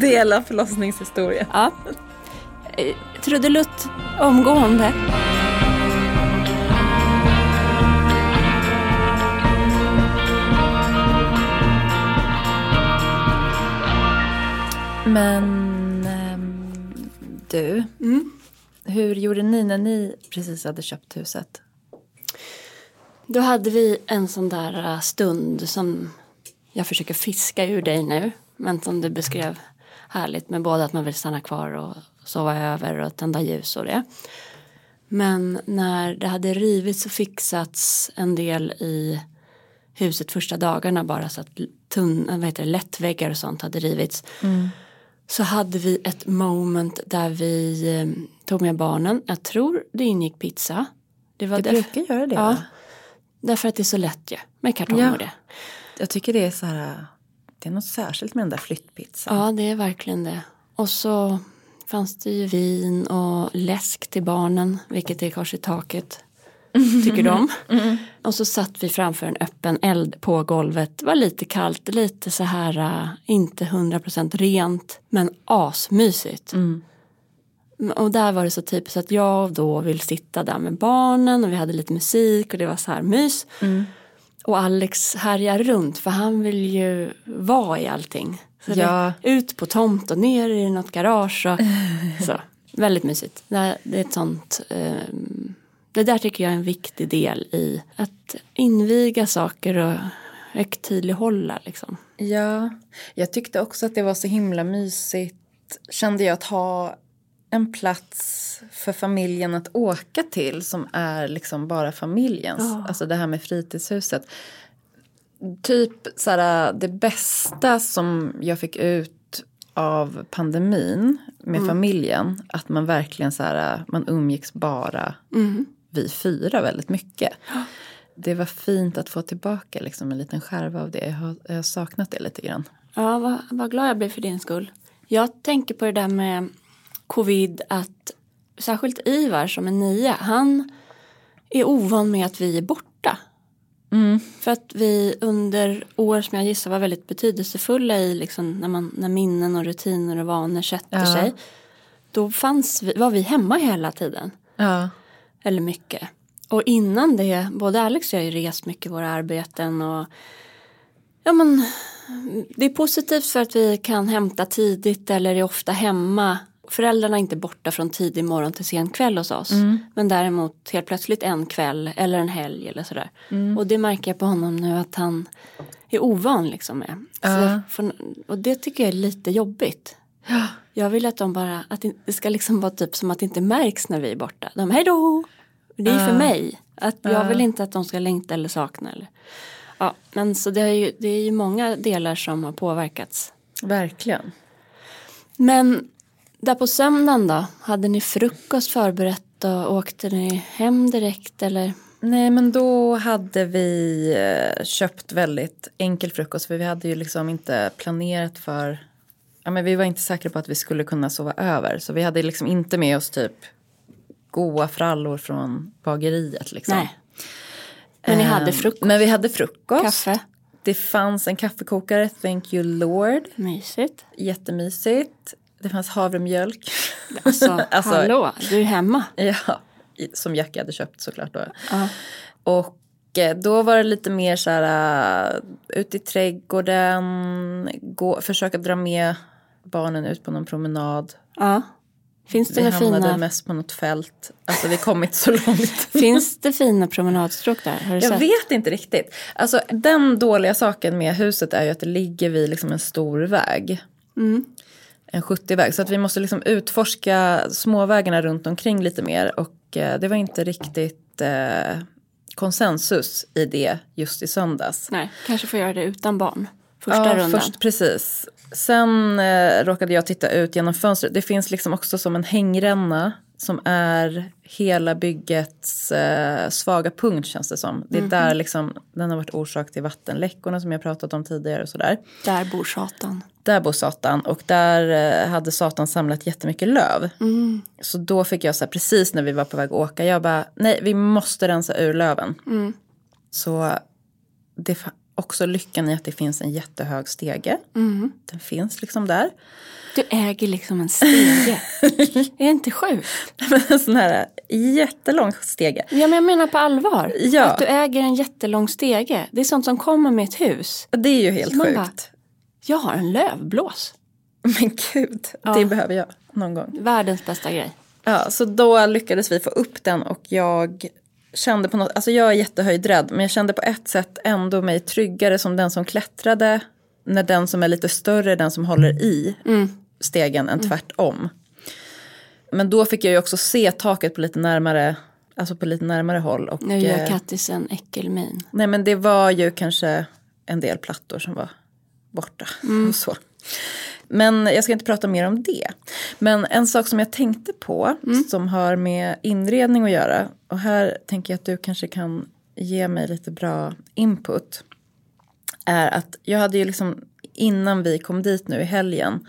B: del, del av förlossningshistorien.
A: Ja. Eh, Trudelutt omgående.
B: Men ehm, du, hur gjorde ni när ni precis hade köpt huset?
A: Då hade vi en sån där eh, stund som jag försöker fiska ur dig nu. Men som du beskrev härligt med både att man vill stanna kvar och sova över och tända ljus och det. Men när det hade rivits och fixats en del i huset första dagarna bara så att tunn, eh, vad heter det, lättväggar och sånt hade rivits.
B: Mm.
A: Så hade vi ett moment där vi eh, tog med barnen. Jag tror det ingick pizza. Det, var
B: Det
A: def-
B: brukar göra det,
A: Ja.
B: va?
A: Därför att det är så lätt ju. Med kartong
B: Ja.
A: och det. Mm.
B: Jag tycker det är så här, det är något särskilt med den där flyttpizzan.
A: Ja, det är verkligen det. Och så fanns det ju vin och läsk till barnen, vilket är kors i taket, tycker de. Och så satt vi framför en öppen eld på golvet. Det var lite kallt, lite så här, äh, inte 100% rent, men asmysigt. Och där var det så typiskt att jag då vill sitta där med barnen och vi hade lite musik och det var så här mys. Och Alex härjar runt för han vill ju vara i allting. Så
B: Ja.
A: det, ut på tomt och ner i något garage. Och, så. Väldigt mysigt. Det, här- det är ett sånt, ehm, det där tycker jag är en viktig del i att inviga saker och högtidlighålla. Liksom.
B: Ja, jag tyckte också att det var så himla mysigt, kände jag, att ha en plats för familjen att åka till som är liksom bara familjens.
A: Ja.
B: Alltså det här med fritidshuset. Typ så här, det bästa som jag fick ut av pandemin med familjen, att man verkligen så här, man umgicks bara vi fyra väldigt mycket. Det var fint att få tillbaka liksom en liten skärva av det. Jag har, jag har saknat det lite grann.
A: Ja, vad, vad glad jag blir för din skull. Jag tänker på det där med covid att särskilt Ivar som är nio, han är ovan med att vi är borta. För att vi under år som jag gissar var väldigt betydelsefulla i liksom när, man, när minnen och rutiner och vanor sätter
B: Ja.
A: sig. Då fanns vi, var vi hemma hela tiden.
B: Ja.
A: Eller mycket. Och innan det, både Alex och jag har ju rest mycket i våra arbeten och ja men det är positivt för att vi kan hämta tidigt eller är ofta hemma. Föräldrarna är inte borta från tidig morgon till sen kväll hos oss. Men däremot helt plötsligt en kväll eller en helg eller sådär. Och det märker jag på honom nu att han är ovan liksom med. Så
B: Ja.
A: jag får- och det tycker jag är lite jobbigt. Jag vill att de bara, att det ska liksom vara typ som att det inte märks när vi är borta. De hej då! Det är ju för mig. Att jag vill inte att de ska längta eller sakna. Eller. Ja, men så det är, ju, det är ju många delar som har påverkats.
B: Verkligen.
A: Men där på söndagen då? Hade ni frukost förberett och åkte ni hem direkt eller?
B: Nej, men då hade vi eh, köpt väldigt enkel frukost för vi hade ju liksom inte planerat för... Ja, men vi var inte säkra på att vi skulle kunna sova över så vi hade liksom inte med oss typ goa frallor från bageriet. Liksom.
A: Nej. Men ni
B: Eh,
A: hade frukost?
B: Men vi hade frukost.
A: Kaffe?
B: Det fanns en kaffekokare, thank you lord.
A: Mysigt.
B: Jättemysigt. Det fanns havremjölk.
A: Alltså, hallå, du är hemma.
B: Ja, i- som Jackie hade köpt såklart då.
A: Ja.
B: Och eh, då var det lite mer så här, äh, ut i trädgården, gå, försöka dra med barnen ut på någon promenad.
A: ja. Finns
B: Vi
A: det, några
B: hamnade
A: fina,
B: mest på något fält. Alltså vi kom inte så långt.
A: finns det fina promenadstråk där? Har du
B: Jag
A: sett?
B: vet inte riktigt. Alltså den dåliga saken med huset är ju att det ligger vid liksom en stor väg. En 70-väg. Så att vi måste liksom utforska småvägarna runt omkring lite mer. Och eh, det var inte riktigt eh, konsensus i det just i söndags.
A: Nej, kanske får göra det utan barn. Första
B: ja,
A: rundan.
B: först precis. Sen eh, råkade jag titta ut genom fönstret. Det finns liksom också som en hängränna som är hela byggets eh, svaga punkt känns det som.
A: Mhm.
B: Det är där liksom, den har varit orsak till vattenläckorna som jag pratat om tidigare och sådär.
A: Där bor Satan.
B: Där bor Satan och där eh, hade Satan samlat jättemycket löv. Så då fick jag så här, precis när vi var på väg att åka, jag bara nej vi måste rensa ur löven.
A: Mm.
B: Så det är fa- också lyckan i att det finns en jättehög stege.
A: Mm.
B: Den finns liksom där.
A: Du äger liksom en stege. är det inte sjukt?
B: en sån här jättelång stege.
A: Ja, men jag menar på allvar.
B: Ja.
A: Att du äger en jättelång stege. Det är sånt som kommer med ett hus.
B: Och Det är ju helt
A: Man
B: sjukt.
A: bara- Jag har en lövblås.
B: Men gud, det behöver jag någon gång.
A: Världens bästa grej.
B: Ja, så då lyckades vi få upp den och jag kände på något, alltså jag är jättehöjdrädd men jag kände på ett sätt ändå mig tryggare som den som klättrade när den som är lite större är den som håller i stegen än tvärtom. Men då fick jag ju också se taket på lite närmare, alltså på lite närmare håll. Och,
A: Nu gör
B: eh,
A: Kattis en äckelmin.
B: Nej men det var ju kanske en del plattor som var borta och så. Men jag ska inte prata mer om det. Men en sak som jag tänkte på som har med inredning att göra och här tänker jag att du kanske kan ge mig lite bra input. Är att jag hade ju liksom innan vi kom dit nu i helgen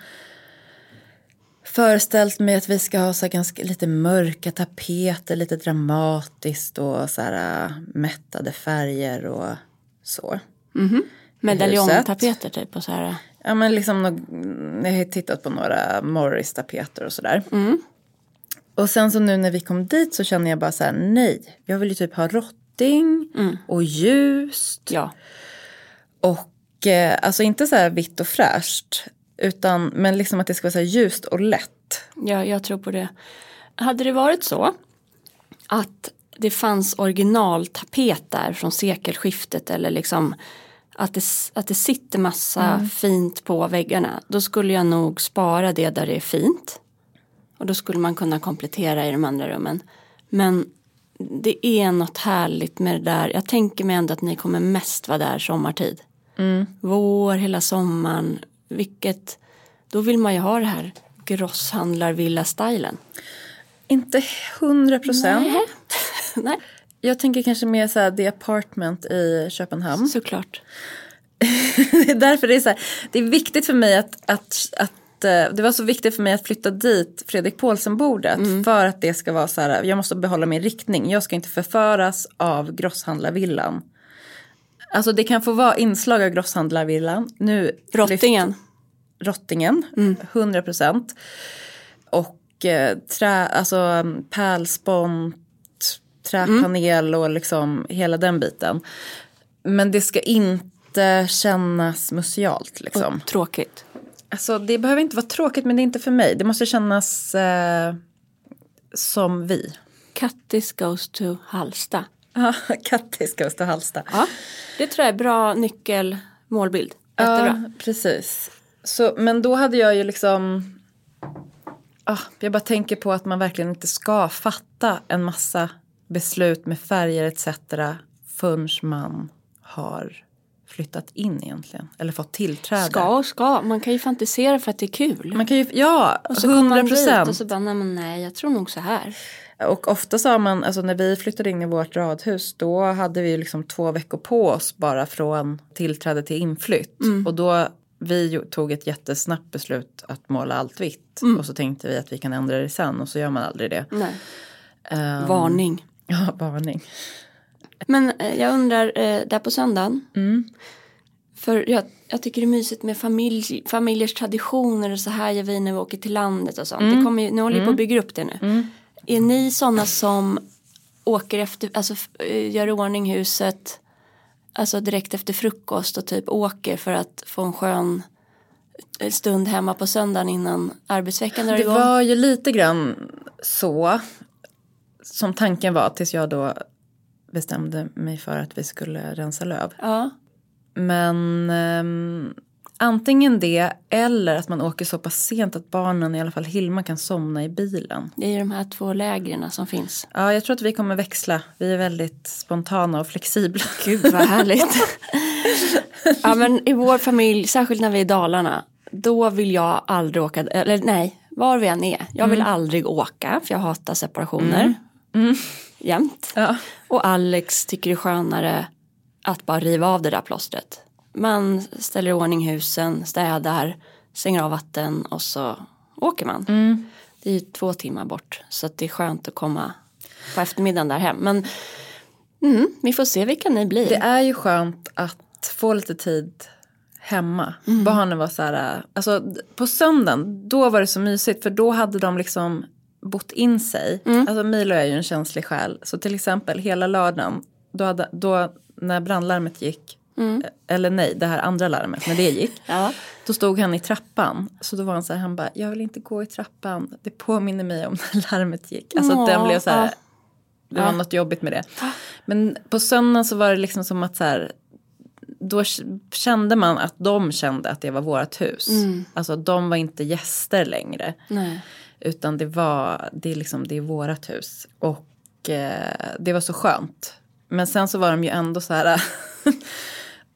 B: föreställt mig att vi ska ha så här ganska lite mörka tapeter, lite dramatiskt och så här äh, mättade färger och så.
A: Medaljongtapeter typ och så här.
B: Ja men liksom, nå- jag har tittat på några Morris-tapeter och sådär. Och sen så nu när vi kom dit så känner jag bara så här, nej, jag vill ju typ ha rotting och ljust.
A: Ja.
B: Och eh, alltså inte så här vitt och fräscht. Utan, men liksom att det ska vara så här ljust och lätt.
A: ja, jag tror på det. Hade det varit så att det fanns originaltapeter från sekelskiftet eller liksom att det, s- att det sitter massa fint på väggarna. Då skulle jag nog spara det där det är fint. Och då skulle man kunna komplettera i de andra rummen. Men det är något härligt med det där. Jag tänker mig ändå att ni kommer mest vara där sommartid.
B: Mm.
A: Vår, hela sommaren. Vilket, då vill man ju ha det här grosshandlarvilla-stylen.
B: Inte hundra procent.
A: Nej. Nej,
B: Jag tänker kanske mer så här The Apartment i Köpenhamn.
A: såklart.
B: det är därför det är så här, det är viktigt för mig att, att, att eh, det var så viktigt för mig att flytta dit Fredrik Paulsen-bordet för att det ska vara så här, jag måste behålla min riktning. Jag ska inte förföras av grosshandlarvillan. Alltså det kan få vara inslag av grosshandlarvillan. Nu lyfter-
A: Brottingen.
B: rottingen, 100 procent. Och eh, trä, alltså mm, pärlspont, träpanel och liksom hela den biten. Men det ska inte kännas musealt liksom.
A: Tråkigt.
B: Alltså det behöver inte vara tråkigt men det är inte för mig. Det måste kännas eh, som vi.
A: Kattis goes to Halsta.
B: Ja, Kattis ska stå halsta.
A: Ja. Det tror jag är bra nyckel, målbild. Jättebra.
B: Ja, precis. Så, men då hade jag ju liksom... Ah, jag bara tänker på att man verkligen inte ska fatta en massa beslut med färger etc. förrän man har flyttat in egentligen. Eller fått tillträde.
A: Ska och ska. Man kan ju fantisera för att det är kul.
B: Man kan ju, ja,
A: Och så kommer
B: hundra
A: man dit och
B: procent.
A: så bara, nej, men nej, jag tror nog så här.
B: Och ofta sa man, alltså när vi flyttade in i vårt radhus då hade vi ju liksom två veckor på oss bara från tillträde till inflytt. Och då vi ju- tog ett jättesnabbt beslut att måla allt vitt. Och så tänkte vi att vi kan ändra det sen och så gör man aldrig det.
A: Nej.
B: Ehm,
A: Varning.
B: ja, varning.
A: Men eh, jag undrar, eh, där på söndagen.
B: Mm.
A: För jag, jag tycker det är mysigt med familj, familjers traditioner och så här gör vi när vi åker till landet och sånt. Det
B: Mm.
A: kommer ju, nu håller vi på att bygga upp det nu. Är ni sådana som åker efter, alltså f- eh, gör i ordning huset alltså direkt efter frukost och typ åker för att få en skön eh, stund hemma på söndagen innan arbetsveckan drar
B: Det
A: igång?
B: var ju lite grann så som tanken var tills jag då bestämde mig för att vi skulle rensa löv.
A: Ja,
B: Men ehm, antingen det eller att man åker så pass sent att barnen, i alla fall Hilma, kan somna i bilen.
A: det är ju de här två lägren som finns.
B: Ja, jag tror att vi kommer växla. Vi är väldigt spontana och flexibla.
A: Gud vad härligt. ja men i vår familj, särskilt när vi är i Dalarna, då vill jag aldrig åka, eller nej, Var vi än är. Jag vill aldrig åka för jag hatar separationer. Jämt.
B: Ja.
A: Och Alex tycker det är skönare att bara riva av det där plåstret. Man ställer i ordning husen, städar, stänger av vatten och så åker man. Det är ju två timmar bort så att det är skönt att komma på eftermiddagen där hem. Men mm, vi får se vilka ni blir.
B: Det är ju skönt att få lite tid hemma. Barnen var så här, äh, alltså d- på söndagen, då var det så mysigt för då hade de liksom bott in sig. Alltså Milo är ju en känslig själ. Så till exempel hela lördagen, då, hade, då när brandlarmet gick, eh, eller nej, det här andra larmet, när det gick,
A: Ja.
B: då stod han i trappan. Så då var han så här, han bara, jag vill inte gå i trappan. Det påminner mig om när larmet gick. Alltså
A: Åh,
B: den blev så här,
A: ja.
B: det var något jobbigt med det. Men på söndagen så var det liksom som att så här, då k- kände man att de kände att det var vårt hus.
A: Mm.
B: Alltså de var inte gäster längre.
A: Nej.
B: Utan det var, det är liksom, det är vårt hus. Och eh, det var så skönt. Men sen så var de ju ändå så här.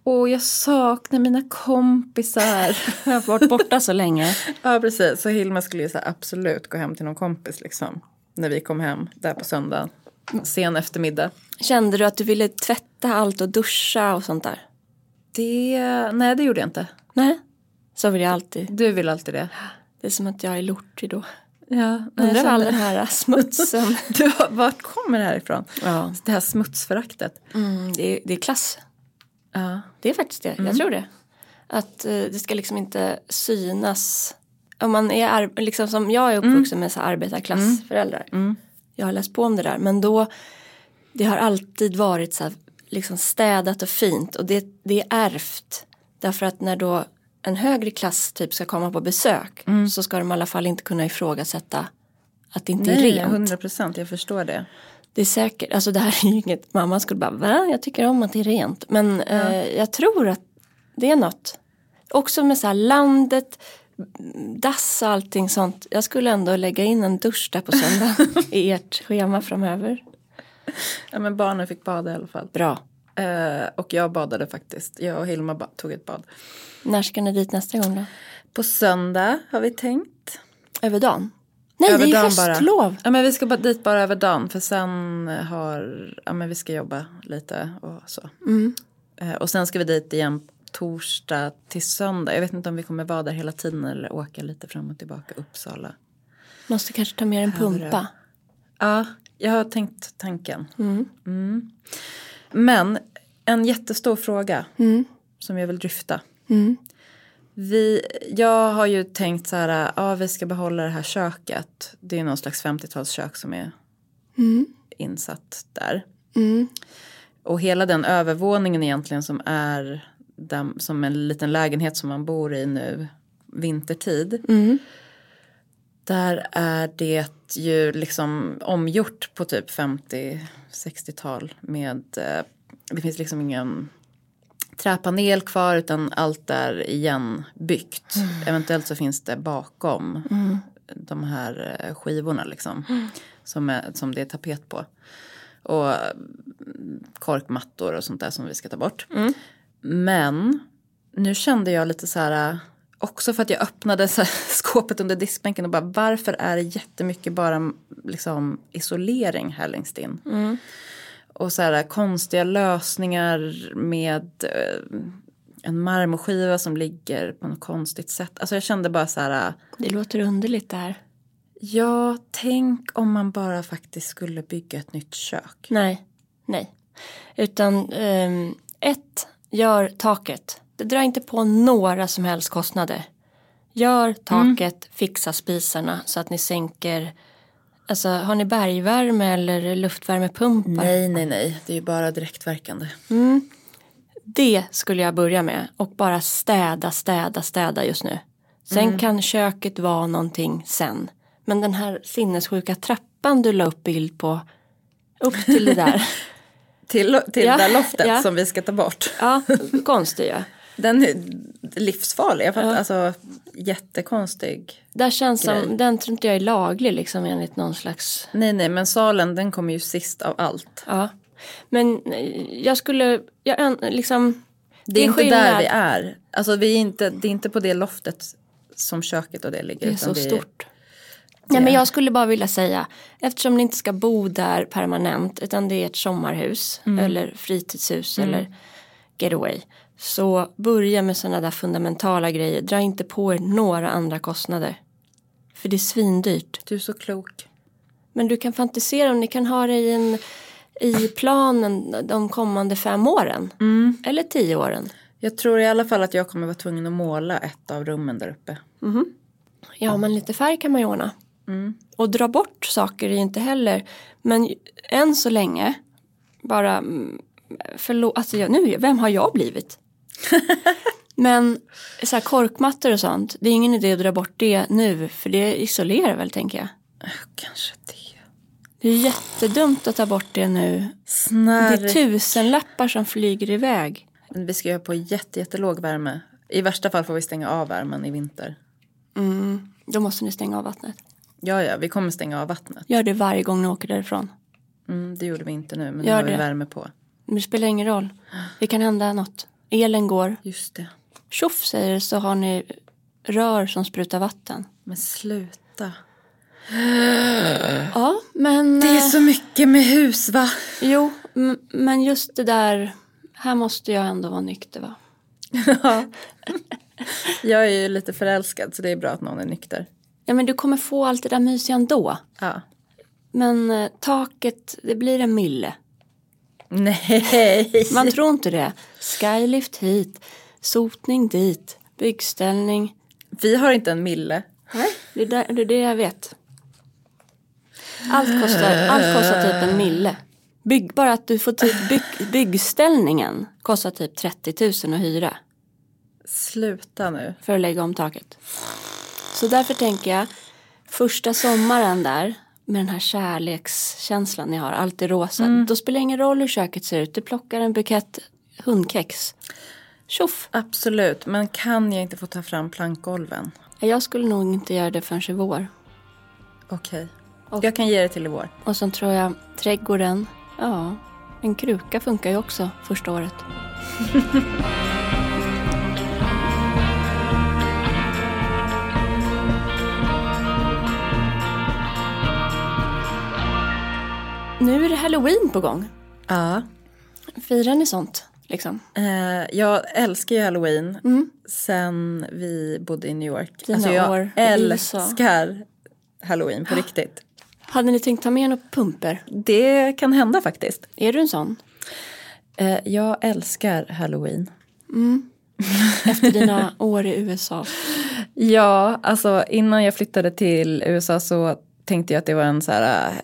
B: Åh, jag saknar mina kompisar.
A: Jag har varit borta så länge.
B: ja, precis. Så Hilma skulle ju så här, absolut gå hem till någon kompis liksom. När vi kom hem där på söndagen. Sen eftermiddag.
A: Kände du att du ville tvätta allt och duscha och sånt där?
B: Det, nej det gjorde jag inte.
A: Nej. Så vill jag alltid.
B: Du vill alltid det.
A: Det är som att jag är lortig då.
B: Ja, nej,
A: Undrar
B: jag
A: var all den
B: kände,
A: här smutsen.
B: du, har- vart kommer det här ifrån?
A: Ja.
B: Det här smutsföraktet.
A: Mm, det, är, det är klass.
B: Ja.
A: Det är faktiskt det. Jag tror det. Att eh, det ska liksom inte synas. Om man är ar- liksom som jag är uppvuxen med så här arbetarklassföräldrar. Jag har läst på om det där. Men då. Det har alltid varit så här liksom städat och fint. Och det, det är ärvt. Därför att när då en högre klass typ ska komma på besök. Så ska de i alla fall inte kunna ifrågasätta att det inte
B: Nej,
A: är rent.
B: 100 procent, jag förstår det.
A: Det är säkert, alltså det här är ju inget, mamma skulle bara va? Jag tycker om att det är rent. Men eh, jag tror att det är något. Också med så här landet, dass och allting sånt. Jag skulle ändå lägga in en dusch där på söndag i ert schema framöver.
B: Ja, men barnen fick bada i alla fall.
A: Bra.
B: Eh, och jag badade faktiskt. Jag och Hilma ba- tog ett bad.
A: När ska ni dit nästa gång då?
B: På söndag har vi tänkt.
A: Över dagen? Nej,
B: Över
A: det är
B: dagen
A: höstlov.
B: Ja, men vi ska bara dit bara över dagen för sen har, ja, men vi ska jobba lite och så.
A: Mm.
B: Eh, och sen ska vi dit igen torsdag till söndag. Jag vet inte om vi kommer vara där hela tiden eller åka lite fram och tillbaka Uppsala.
A: Måste kanske ta med en pumpa.
B: Ja, jag har tänkt tanken. Mm. Men en jättestor fråga som jag vill dryfta. Vi, jag har ju tänkt så här, ja vi ska behålla det här köket. Det är någon slags 50-talskök som är insatt där. Och hela den övervåningen egentligen som är den, som en liten lägenhet som man bor i nu vintertid. Där är det ju liksom omgjort på typ 50-60-tal med eh, det finns liksom ingen träpanel kvar utan allt är igen byggt. Eventuellt så finns det bakom de här eh, skivorna liksom som, är, som det är tapet på. Och eh, korkmattor och sånt där som vi ska ta bort. Men nu kände jag lite så här, också för att jag öppnade så här, skåpet under diskbänken och bara varför är det jättemycket bara liksom isolering här längst in?
A: Mm.
B: Och så här konstiga lösningar med eh, en marmorskiva som ligger på något konstigt sätt. Alltså jag kände bara så här,
A: Det låter underligt det här.
B: ja tänk om man bara faktiskt skulle bygga ett nytt kök.
A: Nej, nej. Utan ehm, ett, gör taket. Det drar inte på några som helst kostnader. Gör taket, fixa spisarna så att ni sänker. Alltså har ni bergvärme eller luftvärmepumpar?
B: Nej, nej, nej, det är ju bara direktverkande.
A: Det skulle jag börja med och bara städa, städa, städa just nu. Sen kan köket vara någonting sen. Men den här sinnessjuka trappan du la upp bild på. Upp till det där.
B: Till, till
A: Ja,
B: det där loftet
A: ja.
B: som vi ska ta bort.
A: ja, konstigt ju.
B: Den är livsfarlig. Jag fattar, alltså, jättekonstig.
A: Där känns
B: grej.
A: som, den tror inte jag är laglig liksom enligt någon slags.
B: Nej, nej, men salen den kommer ju sist av allt.
A: Ja. Men eh, jag skulle, jag ön- liksom.
B: Det är, inte där vi är. Alltså, vi är inte, det är inte på det loftet som köket och det ligger.
A: Det är så
B: vi,
A: stort. Nej, men jag skulle bara vilja säga, eftersom ni inte ska bo där permanent utan det är ett sommarhus
B: Mm.
A: eller fritidshus eller getaway. Så börja med sådana där fundamentala grejer. Dra inte på er några andra kostnader. För det är svindyrt.
B: Du är så klok.
A: Men du kan fantisera om ni kan ha det i, en, i planen de kommande fem åren. Eller tio åren.
B: Jag tror i alla fall att jag kommer vara tvungen att måla ett av rummen där uppe.
A: Ja, men lite färg kan man ju ordna. Och dra bort saker är ju inte heller. Men än så länge, bara mm, förlåt, alltså jag, nu, vem har jag blivit? men så här korkmattor och sånt, det är ingen idé att dra bort det nu för det isolerar väl tänker jag.
B: Äh, Kanske det.
A: Det är jättedumt att ta bort det nu. Det är
B: Snark.
A: tusenlappar som flyger iväg.
B: Vi ska ju ha på jätte, jättelåg värme. I värsta fall får vi stänga av värmen i vinter.
A: Mm, då måste ni stänga av vattnet.
B: Ja, ja, vi kommer stänga av vattnet.
A: Gör det varje gång ni åker därifrån.
B: Mm, det gjorde vi inte nu,
A: Gör
B: men nu har vi
A: det.
B: värme på.
A: Men det spelar ingen roll. Det kan hända något. Elen går.
B: Just det.
A: Tjoff säger det så har ni rör som sprutar vatten.
B: Men sluta.
A: Ja, men... eh,
B: Det är så mycket med hus, va?
A: Jo, m- men just det där, här måste jag ändå vara nykter va?
B: Ja. Jag är ju lite förälskad, så det är bra att någon är nykter.
A: Ja men du kommer få allt det där mysiga ändå.
B: Ja.
A: Men eh, taket, det blir en mille.
B: Nej!
A: Man tror inte det. Skylift hit, sotning dit, byggställning.
B: Vi har inte en mille.
A: Nej, det är, där, det är det jag vet. Allt kostar, allt kostar typ en mille. Bygg, bara att du får typ bygg, byggställningen kostar typ 30 000 att hyra.
B: Sluta nu.
A: för att lägga om taket. Så därför tänker jag, första sommaren där med den här kärlekskänslan ni har, allt är rosa. Då spelar det ingen roll hur köket ser ut, du plockar en bukett hundkex. Tjoff!
B: Absolut, men kan jag inte få ta fram plankgolven?
A: Jag skulle nog inte göra det förrän i vår.
B: Okej. Jag kan ge det till i vår.
A: Och sen tror jag trädgården, ja, en kruka funkar ju också första året. Nu är det halloween på gång.
B: Ja.
A: Firar ni sånt? Liksom.
B: Eh, jag älskar ju halloween sen vi bodde i New York.
A: Dina
B: alltså jag
A: år i
B: älskar halloween på riktigt.
A: Hade ni tänkt ta med några pumper?
B: Det kan hända faktiskt.
A: Är du en sån?
B: Eh, jag älskar halloween.
A: Efter dina år i USA?
B: Ja, alltså innan jag flyttade till USA så tänkte jag att det var en så här äh,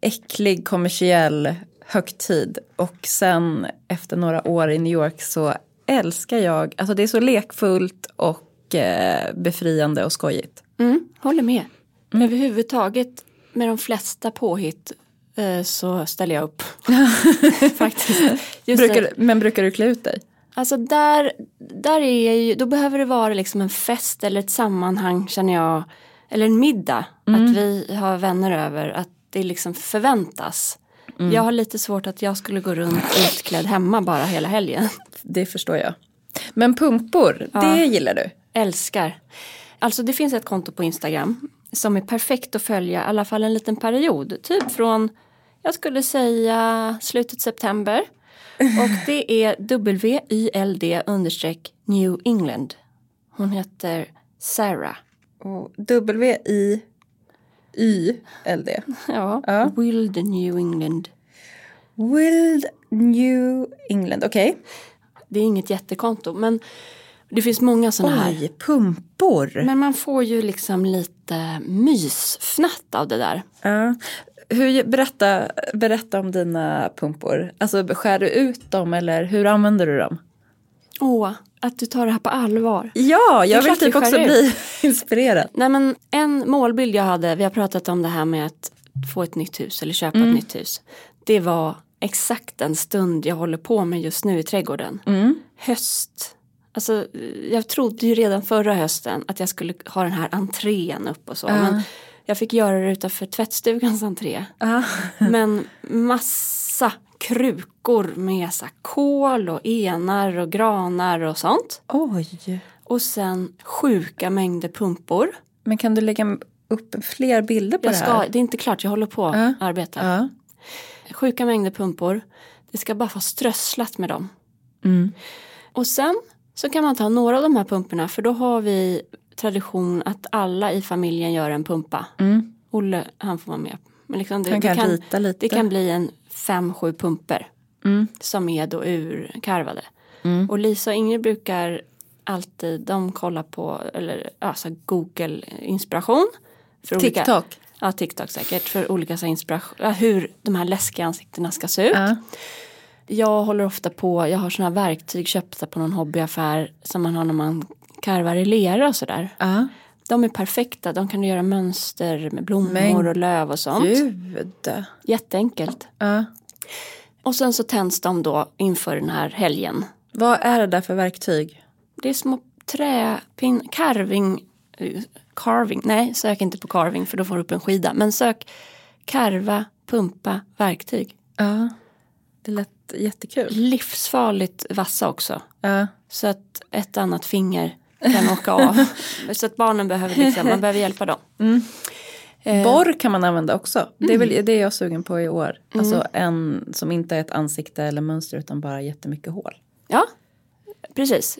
B: äcklig kommersiell högtid. Och sen efter några år i New York så älskar jag, alltså det är så lekfullt och eh, befriande och skojigt.
A: Mm, håller med. Överhuvudtaget med de flesta påhitt eh, så ställer jag upp. Faktiskt. Just
B: Brukar,
A: det.
B: du- men brukar du klä ut dig?
A: Alltså där, där är ju, då behöver det vara liksom en fest eller ett sammanhang känner jag. Eller en middag. Att vi har vänner över. Att det liksom förväntas. Jag har lite svårt att jag skulle gå runt utklädd hemma bara hela helgen.
B: Det förstår jag. Men pumpor, det gillar du?
A: Älskar. Alltså det finns ett konto på Instagram som är perfekt att följa i alla fall en liten period. Typ från, jag skulle säga slutet september. Och det är WYLD understreck New England. Hon heter Sarah.
B: Och W-I-Y-L-D.
A: Ja,
B: Ja.
A: Wild New England.
B: Wild New England, okej.
A: Det är inget jättekonto men det finns många sådana här.
B: Oj, pumpor.
A: Men man får ju liksom lite mysfnatt av det där.
B: Ja. Hur, berätta, berätta om dina pumpor. Alltså, skär du ut dem eller hur använder du dem?
A: Åh, att du tar det här på allvar.
B: Ja, jag
A: klart vi
B: vill
A: skär
B: typ också
A: ut.
B: bli inspirerad.
A: Nej men en målbild jag hade, vi har pratat om det här med att få ett nytt hus eller köpa ett nytt hus. Det var exakt den stund jag håller på med just nu i trädgården.
B: Mm.
A: Höst. Alltså jag trodde ju redan förra hösten att jag skulle ha den här entrén upp och så. Men jag fick göra det utanför tvättstugans entré. Men massa krukor med så här, kål och enar och granar och sånt.
B: Oj.
A: Och sen sjuka mängder pumpor.
B: Men kan du lägga upp fler bilder på
A: Jag
B: det
A: ska,
B: här.
A: det är inte klart, jag håller på att
B: Ja.
A: arbeta.
B: Ja.
A: Sjuka mängder pumpor. Det ska bara vara strösslat med dem.
B: Mm.
A: Och sen så kan man ta några av de här pumporna för då har vi tradition att alla i familjen gör en pumpa.
B: Mm.
A: Olle han får vara med. Men liksom det,
B: Han
A: det,
B: kan
A: kan,
B: rita lite.
A: det kan bli en fem, sju pumper
B: Mm.
A: som är då urkarvade.
B: Mm.
A: Och Lisa och Ingrid brukar alltid, de kollar på eller, alltså Google inspiration. För Olika,
B: TikTok.
A: ja, TikTok säkert. För olika så här inspiration, ja, hur de här läskiga ansiktena ska se ut.
B: Ja.
A: Jag håller ofta på, jag har såna här verktyg köpta på någon hobbyaffär som man har när man karvar i lera och sådär.
B: Ja.
A: De är perfekta, de kan du göra mönster med blommor
B: Men
A: och löv och sånt.
B: Gud.
A: Jätteenkelt.
B: Ja.
A: Och sen så tänds de då inför den här helgen.
B: Vad är det där för verktyg?
A: Det är små träpin, carving, eh, carving, nej sök inte på carving för då får du upp en skida. Men sök karva, pumpa, verktyg.
B: Ja. Det lät jättekul.
A: Livsfarligt vassa också.
B: Ja.
A: Så att ett annat finger kan åka av. så att barnen behöver liksom, man behöver hjälpa dem. Eh.
B: Borr kan man använda också. Det är
A: Mm.
B: väl det är jag är sugen på i år. Alltså en som inte är ett ansikte eller mönster utan bara jättemycket hål.
A: Ja, precis.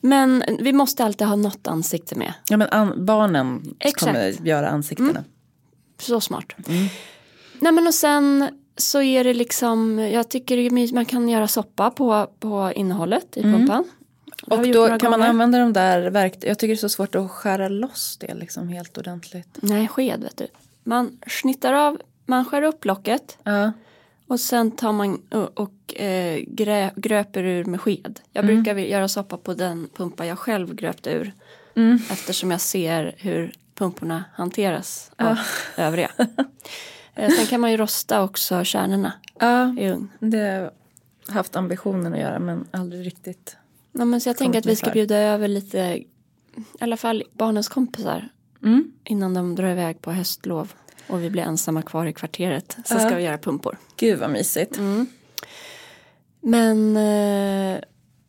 A: Men vi måste alltid ha något ansikte med.
B: Ja men an- barnen
A: Exakt. Mm.
B: kommer göra ansiktena.
A: Så smart.
B: Mm.
A: Nej men och sen så är det liksom, jag tycker det är mys- man kan göra soppa på, på innehållet i pumpan. Det har vi
B: Mm. Och
A: gjort
B: då
A: några
B: kan man
A: gånger.
B: använda de där verktygen. Jag tycker det är så svårt att skära loss det liksom helt ordentligt.
A: Nej, sked vet du. Man snittar av, man skär upp locket
B: Ja.
A: och sen tar man och, och eh, grä, gröper ur med sked. Jag brukar vi- göra soppa på den pumpa jag själv gröpt ur. Eftersom jag ser hur pumporna hanteras av övriga. Eh, Sen kan man ju rosta också kärnorna
B: ja,
A: i ugn.
B: det har jag haft ambitionen att göra men aldrig riktigt.
A: Ja, men så jag tänker att vi ska
B: ungefär.
A: bjuda över lite, i alla fall barnens kompisar
B: Mm.
A: innan de drar iväg på höstlov och vi blir ensamma kvar i kvarteret. Så
B: Ja.
A: ska vi göra pumpor.
B: Gud vad mysigt.
A: Mm. Men eh,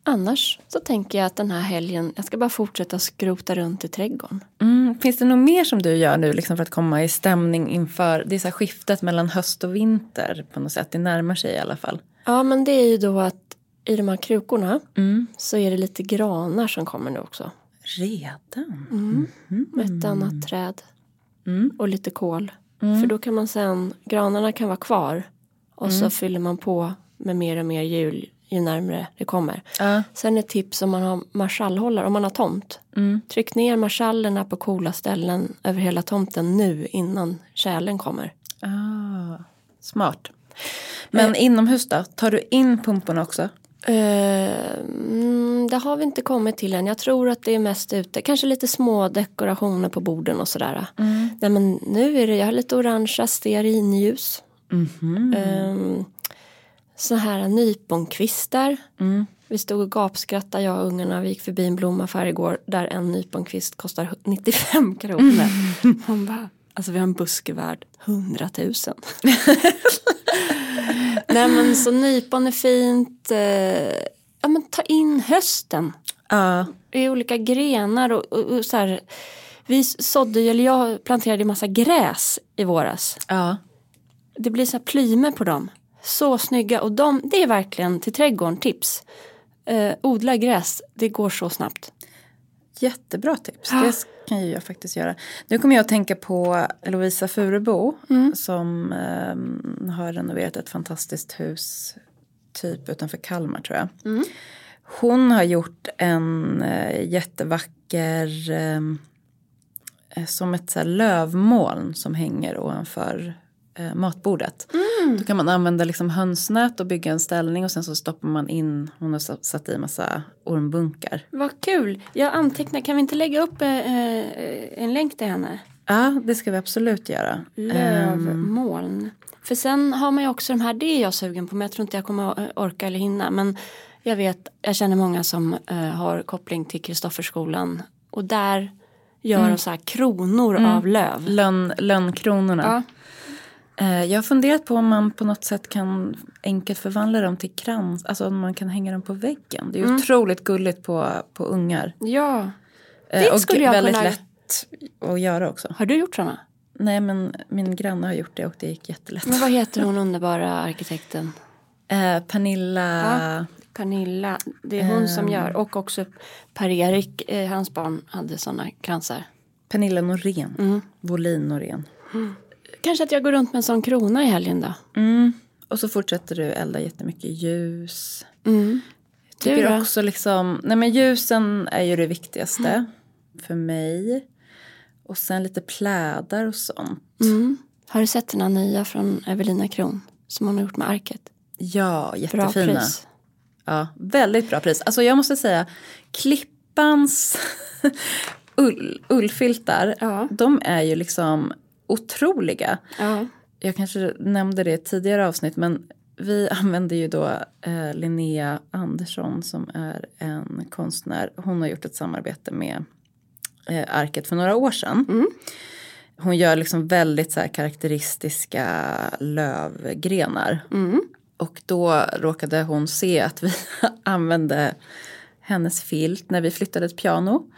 A: annars så tänker jag att den här helgen, jag ska bara fortsätta skrota runt i trädgården.
B: Mm. Finns det något mer som du gör nu liksom för att komma i stämning inför det är så här skiftet mellan höst och vinter på något sätt? Det närmar sig i alla fall.
A: Ja men det är ju då att i de här krukorna
B: Mm.
A: så är det lite granar som kommer nu också.
B: Redan?
A: Mm. Ett annat träd
B: Mm.
A: och lite kol.
B: Mm.
A: För då kan man sen, granarna kan vara kvar och så
B: Mm.
A: fyller man på med mer och mer jul ju närmre det kommer.
B: Ja.
A: Sen ett tips om man har marschallhållare, om man har tomt.
B: Mm.
A: Tryck ner marschallerna på coola ställen över hela tomten nu innan tjälen kommer.
B: Ah, smart. Eh. Men inomhus då? Tar du in pumporna också?
A: Eh, mm, det har vi inte kommit till än. Jag tror att det är mest ute. Kanske lite små dekorationer på borden och sådär. Nej men nu är det, jag har lite orangea stearinljus. Eh, så här nyponkvistar. Vi stod och gapskrattade jag och ungarna. Vi gick förbi en blomaffär igår där en nyponkvist kostar 95 kronor. Hon bara, alltså vi har en buske värd 100 000. Nej men så nypon är fint. Eh, ja men ta in hösten
B: Ja.
A: i olika grenar och, och, och så här. Vi sådde ju, eller jag planterade ju massa gräs i våras.
B: ja.
A: Det blir så här plymer på dem. Så snygga och de, det är verkligen till trädgården tips. Eh, odla gräs, det går så snabbt.
B: Jättebra tips.
A: Ja.
B: Det kan ju jag faktiskt göra. Nu kommer jag att tänka på Lovisa Furebo som ehm, har renoverat ett fantastiskt hus typ utanför Kalmar tror jag. Hon har gjort en eh, jättevacker ehm, eh, som ett så här lövmoln som hänger ovanför eh, matbordet. Då kan man använda liksom hönsnät och bygga en ställning och sen så stoppar man in, hon har sa- satt i massa ormbunkar.
A: Vad kul, jag antecknar, kan vi inte lägga upp eh, en länk till henne?
B: Ja, det ska vi absolut göra. Ehm,
A: Lövmoln. För sen har man ju också de här, det är jag sugen på men jag tror inte jag kommer orka eller hinna. Men jag vet, jag känner många som eh, har koppling till Kristofferskolan och där gör de så här kronor av löv.
B: lön, lönnkronorna.
A: Mm. Ja.
B: Eh, jag har funderat på om man på något sätt kan enkelt förvandla dem till krans, alltså om man kan hänga dem på
A: Mm.
B: väggen. Det är ju otroligt gulligt på, på ungar.
A: Ja,
B: Eh,
A: Det skulle jag
B: väldigt
A: kunna-
B: lätt lätt att göra också.
A: Har du gjort sådana?
B: Nej, men min granne har gjort det och det gick jättelätt.
A: Men vad heter hon underbara arkitekten?
B: Eh, Pernilla...
A: Mm. Ja. Ehm. Pernilla, det är hon som gör. Och också Per-Erik, eh, hans barn hade sådana kransar.
B: Pernilla Norén.
A: Mm.
B: Bolin Norén.
A: Kanske att jag går runt med en sån krona i helgen då.
B: Mm. Och så fortsätter du elda jättemycket ljus.
A: Du
B: tycker
A: då?
B: också liksom, nej men ljusen är ju det viktigaste
A: Mm.
B: för mig. Och sen lite plädar och sånt.
A: Mm. Har du sett den här nya från Evelina Kron? Som hon har gjort med arket.
B: Ja,
A: Bra
B: jättefina.
A: pris.
B: Ja, väldigt bra pris. Alltså jag måste säga, Klippans ull, ullfiltar,
A: Ja.
B: de är ju liksom otroliga.
A: Ja.
B: Jag kanske nämnde det i ett tidigare avsnitt men vi använder ju då eh, Linnea Andersson som är en konstnär. Hon har gjort ett samarbete med eh, Arket för några år sedan. Hon gör liksom väldigt så här karaktäristiska lövgrenar. Och då råkade hon se att vi använde hennes filt när vi flyttade ett piano.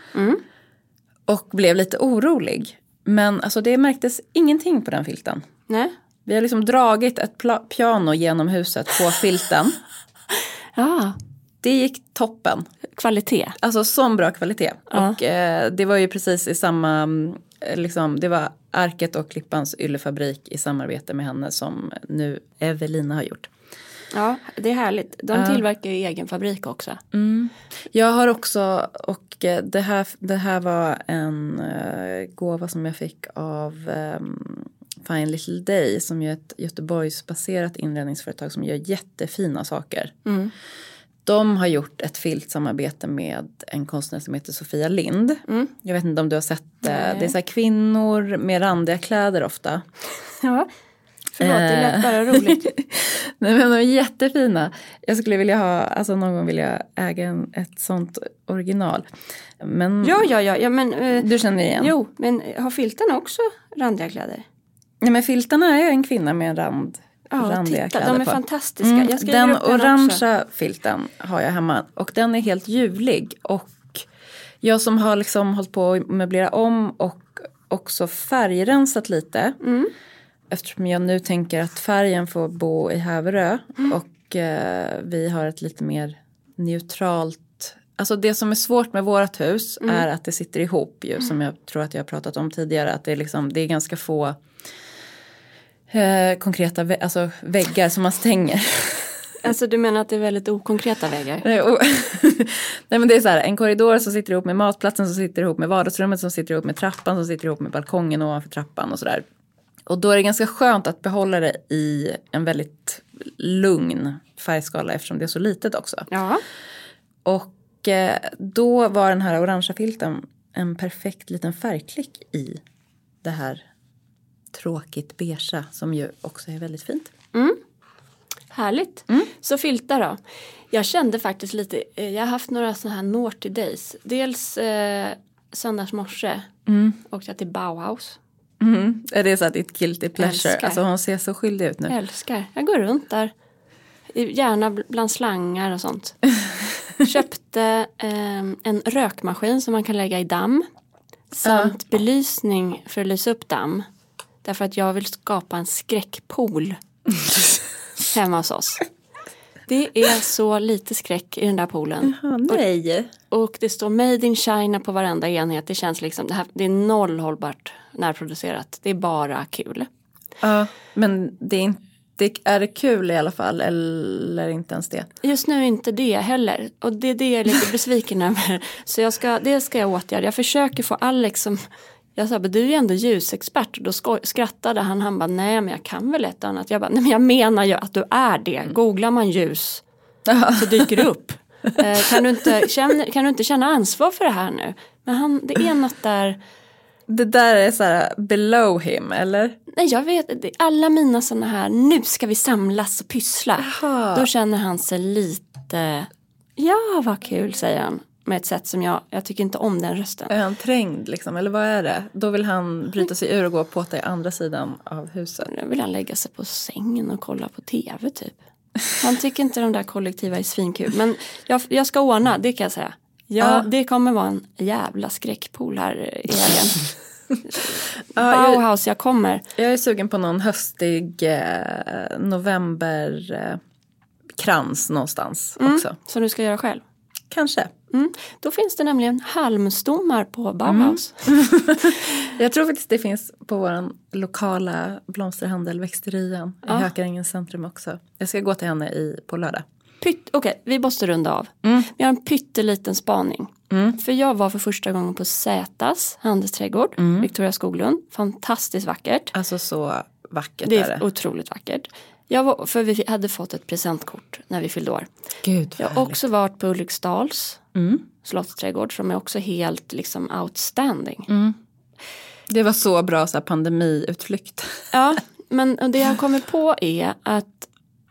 B: Och blev lite orolig. Men alltså det märktes ingenting på den filten.
A: Nej.
B: Vi har liksom dragit ett pla- piano genom huset på filten.
A: Ja,
B: Det gick toppen.
A: kvalitet.
B: Alltså sån bra kvalitet.
A: Ja.
B: Och eh, det var ju precis i samma, mm, eh, liksom, det var Arket och Klippans yllefabrik i samarbete med henne som nu Evelina har gjort.
A: Ja, det är härligt. De tillverkar ju egen fabrik också.
B: Jag har också, och eh, det här, det här var en eh, gåva som jag fick av ehm, Fine Little Day som ju är ett Göteborgsbaserat inredningsföretag som gör jättefina saker.
A: Mm.
B: De har gjort ett filtsamarbete med en konstnär som heter Sofia Lind.
A: Mm.
B: Jag vet inte om du har sett eh, det. Det är så här kvinnor med randiga kläder ofta.
A: Ja. Förlåt, det
B: Eh.
A: lät bara roligt.
B: Nej men de är jättefina. Jag skulle vilja ha, alltså någon gång vill jag äga en, ett sånt original. Men
A: Ja, ja, ja. ja men, eh,
B: du känner igen?
A: Jo, men har filtarna också randiga kläder?
B: Nej men filtarna är en kvinna med en rand.
A: Ja,
B: randiga
A: titta.
B: kläder
A: De är
B: på.
A: fantastiska.
B: Mm,
A: jag skriver
B: den
A: upp en också.
B: orangea filten har jag hemma och den är helt ljuvlig. Och jag som har liksom hållit på att möblera om och också färgrensat lite.
A: Mm.
B: Eftersom jag nu tänker att färgen får bo i Häverö
A: Mm.
B: och eh, vi har ett lite mer neutralt Alltså det som är svårt med vårt hus
A: Mm.
B: är att det sitter ihop ju som jag tror att jag har pratat om tidigare att det är, liksom, det är ganska få eh, konkreta vä- alltså väggar som man stänger.
A: Alltså du menar att det är väldigt okonkreta vägar?
B: Nej, Eh, och- Nej men det är så här, en korridor som sitter ihop med matplatsen som sitter ihop med vardagsrummet som sitter ihop med trappan som sitter ihop med balkongen ovanför trappan och sådär. Och då är det ganska skönt att behålla det i en väldigt lugn färgskala eftersom det är så litet också.
A: Ja.
B: Och eh, då var den här orangea filten en perfekt liten färgklick i det här tråkigt beiga som ju också är väldigt fint.
A: Härligt. Så filtar då. Jag kände faktiskt lite, eh, jag har haft några sådana här naughty days. Dels eh, söndags morse åkte jag till Bauhaus.
B: Mm. Är det är så att ditt guilty pleasure?
A: Älskar.
B: Alltså hon ser så skyldig ut nu.
A: Jag älskar, jag går runt där. I- Gärna bl- bland slangar och sånt. Köpte eh, en rökmaskin som man kan lägga i damm. Samt belysning för att lysa upp damm. Därför att jag vill skapa en skräckpool hemma hos oss. Det är så lite skräck i den där poolen.
B: Ja, nej.
A: Och det står Made in China på varenda enhet. Det känns liksom, det, här, det är noll hållbart närproducerat. Det är bara kul.
B: Ja, men det är, inte, det är det kul i alla fall eller inte ens det?
A: Just nu är inte det heller. Och det är det jag är lite besviken över. Så jag ska, det ska jag åtgärda. Jag försöker få Alex som... Jag sa, "Men du är ju ändå ljusexpert. Då skoj, skrattade han. Han bara, nej men jag kan väl ett och annat. Jag bara, nej men jag menar ju att du är det. Googlar man ljus så dyker det upp. Eh, kan, du inte, känna, kan du inte känna ansvar för det här nu? Men han, det är något där...
B: Det där är så här below him eller?
A: Nej jag vet, det- alla mina sådana här, nu ska vi samlas och pyssla.
B: Jaha.
A: Då känner han sig lite, ja vad kul säger han. Med ett sätt som jag, jag tycker inte om den rösten.
B: Är han trängd liksom eller vad är det? Då vill han bryta sig ur och gå och påta i andra sidan av huset.
A: Nu vill han lägga sig på sängen och kolla på tv typ. Han tycker inte de där kollektiva är svinkul. Men jag, jag ska ordna, det kan jag säga. Ja,
B: Ja.
A: det kommer vara en jävla skräckpool här i helgen.
B: Ja, jag,
A: Bauhaus, jag kommer.
B: jag är sugen på någon höstig eh, novemberkrans eh, krans någonstans också.
A: Som du ska göra själv.
B: Kanske.
A: Mm. Då finns det nämligen halmstommar på
B: Mm.
A: Bauhaus.
B: Jag tror faktiskt det finns på vår lokala blomsterhandel Växterian i
A: Ja.
B: Hökarängens centrum också. Jag ska gå till henne i, på lördag.
A: Pytt- Okej, vi måste runda av. Vi har en pytteliten spaning. För jag var för första gången på Zätas handelsträdgård, Victoria Skoglund. Fantastiskt vackert.
B: Alltså så vackert
A: Det
B: är
A: är
B: det.
A: otroligt vackert. Jag var, för vi hade fått ett presentkort när vi fyllde år.
B: Gud
A: Jag har också varit på Ulriksdals
B: Mm.
A: slottsträdgård som är också helt liksom outstanding.
B: Det var så bra så här, pandemiutflykt.
A: Ja, men det jag har kommit på är att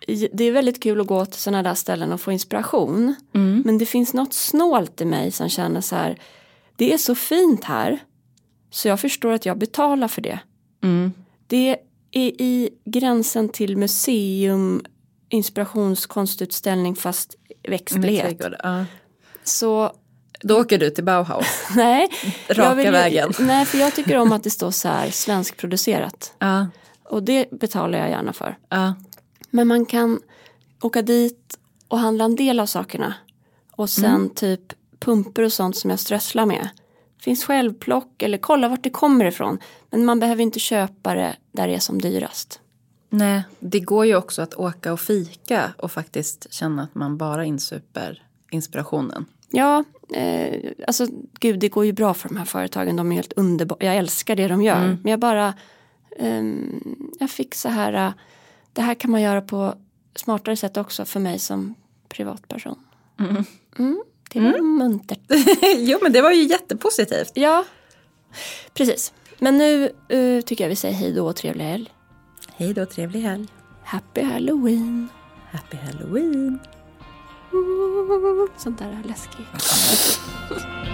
A: i- det är väldigt kul att gå till sådana där ställen och få inspiration.
B: Mm.
A: Men det finns något snålt i mig som känner så här, det är så fint här så jag förstår att jag betalar för det.
B: Mm,
A: Det är i gränsen till museum, inspirationskonstutställning fast
B: Med
A: växtlighet.
B: trädgård. Ja.
A: Så
B: Då åker du till Bauhaus.
A: nej. jag
B: Raka
A: vill ju-
B: vägen.
A: Nej, för jag tycker om att det står så här svenskproducerat.
B: Ja,
A: Och det betalar jag gärna för.
B: ja.
A: Men man kan åka dit och handla en del av sakerna. Och sen typ pumper och sånt som jag strösslar med. Finns självplock eller kolla vart det kommer ifrån. Men man behöver inte köpa det där det är som dyrast.
B: Nej, det går ju också att åka och fika och faktiskt känna att man bara insuper inspirationen.
A: Ja, eh, alltså gud det går ju bra för de här företagen. De är helt underbara. Jag älskar det de gör. Men jag bara, ehm, jag fick så här, eh, det här kan man göra på smartare sätt också för mig som privatperson. Mm, det var muntert.
B: jo, men det var ju jättepositivt.
A: Ja, precis. Men nu eh, tycker jag vi säger hej då och trevlig helg.
B: Hej då, trevlig helg.
A: Happy halloween.
B: Happy halloween.
A: Sånt där läskigt.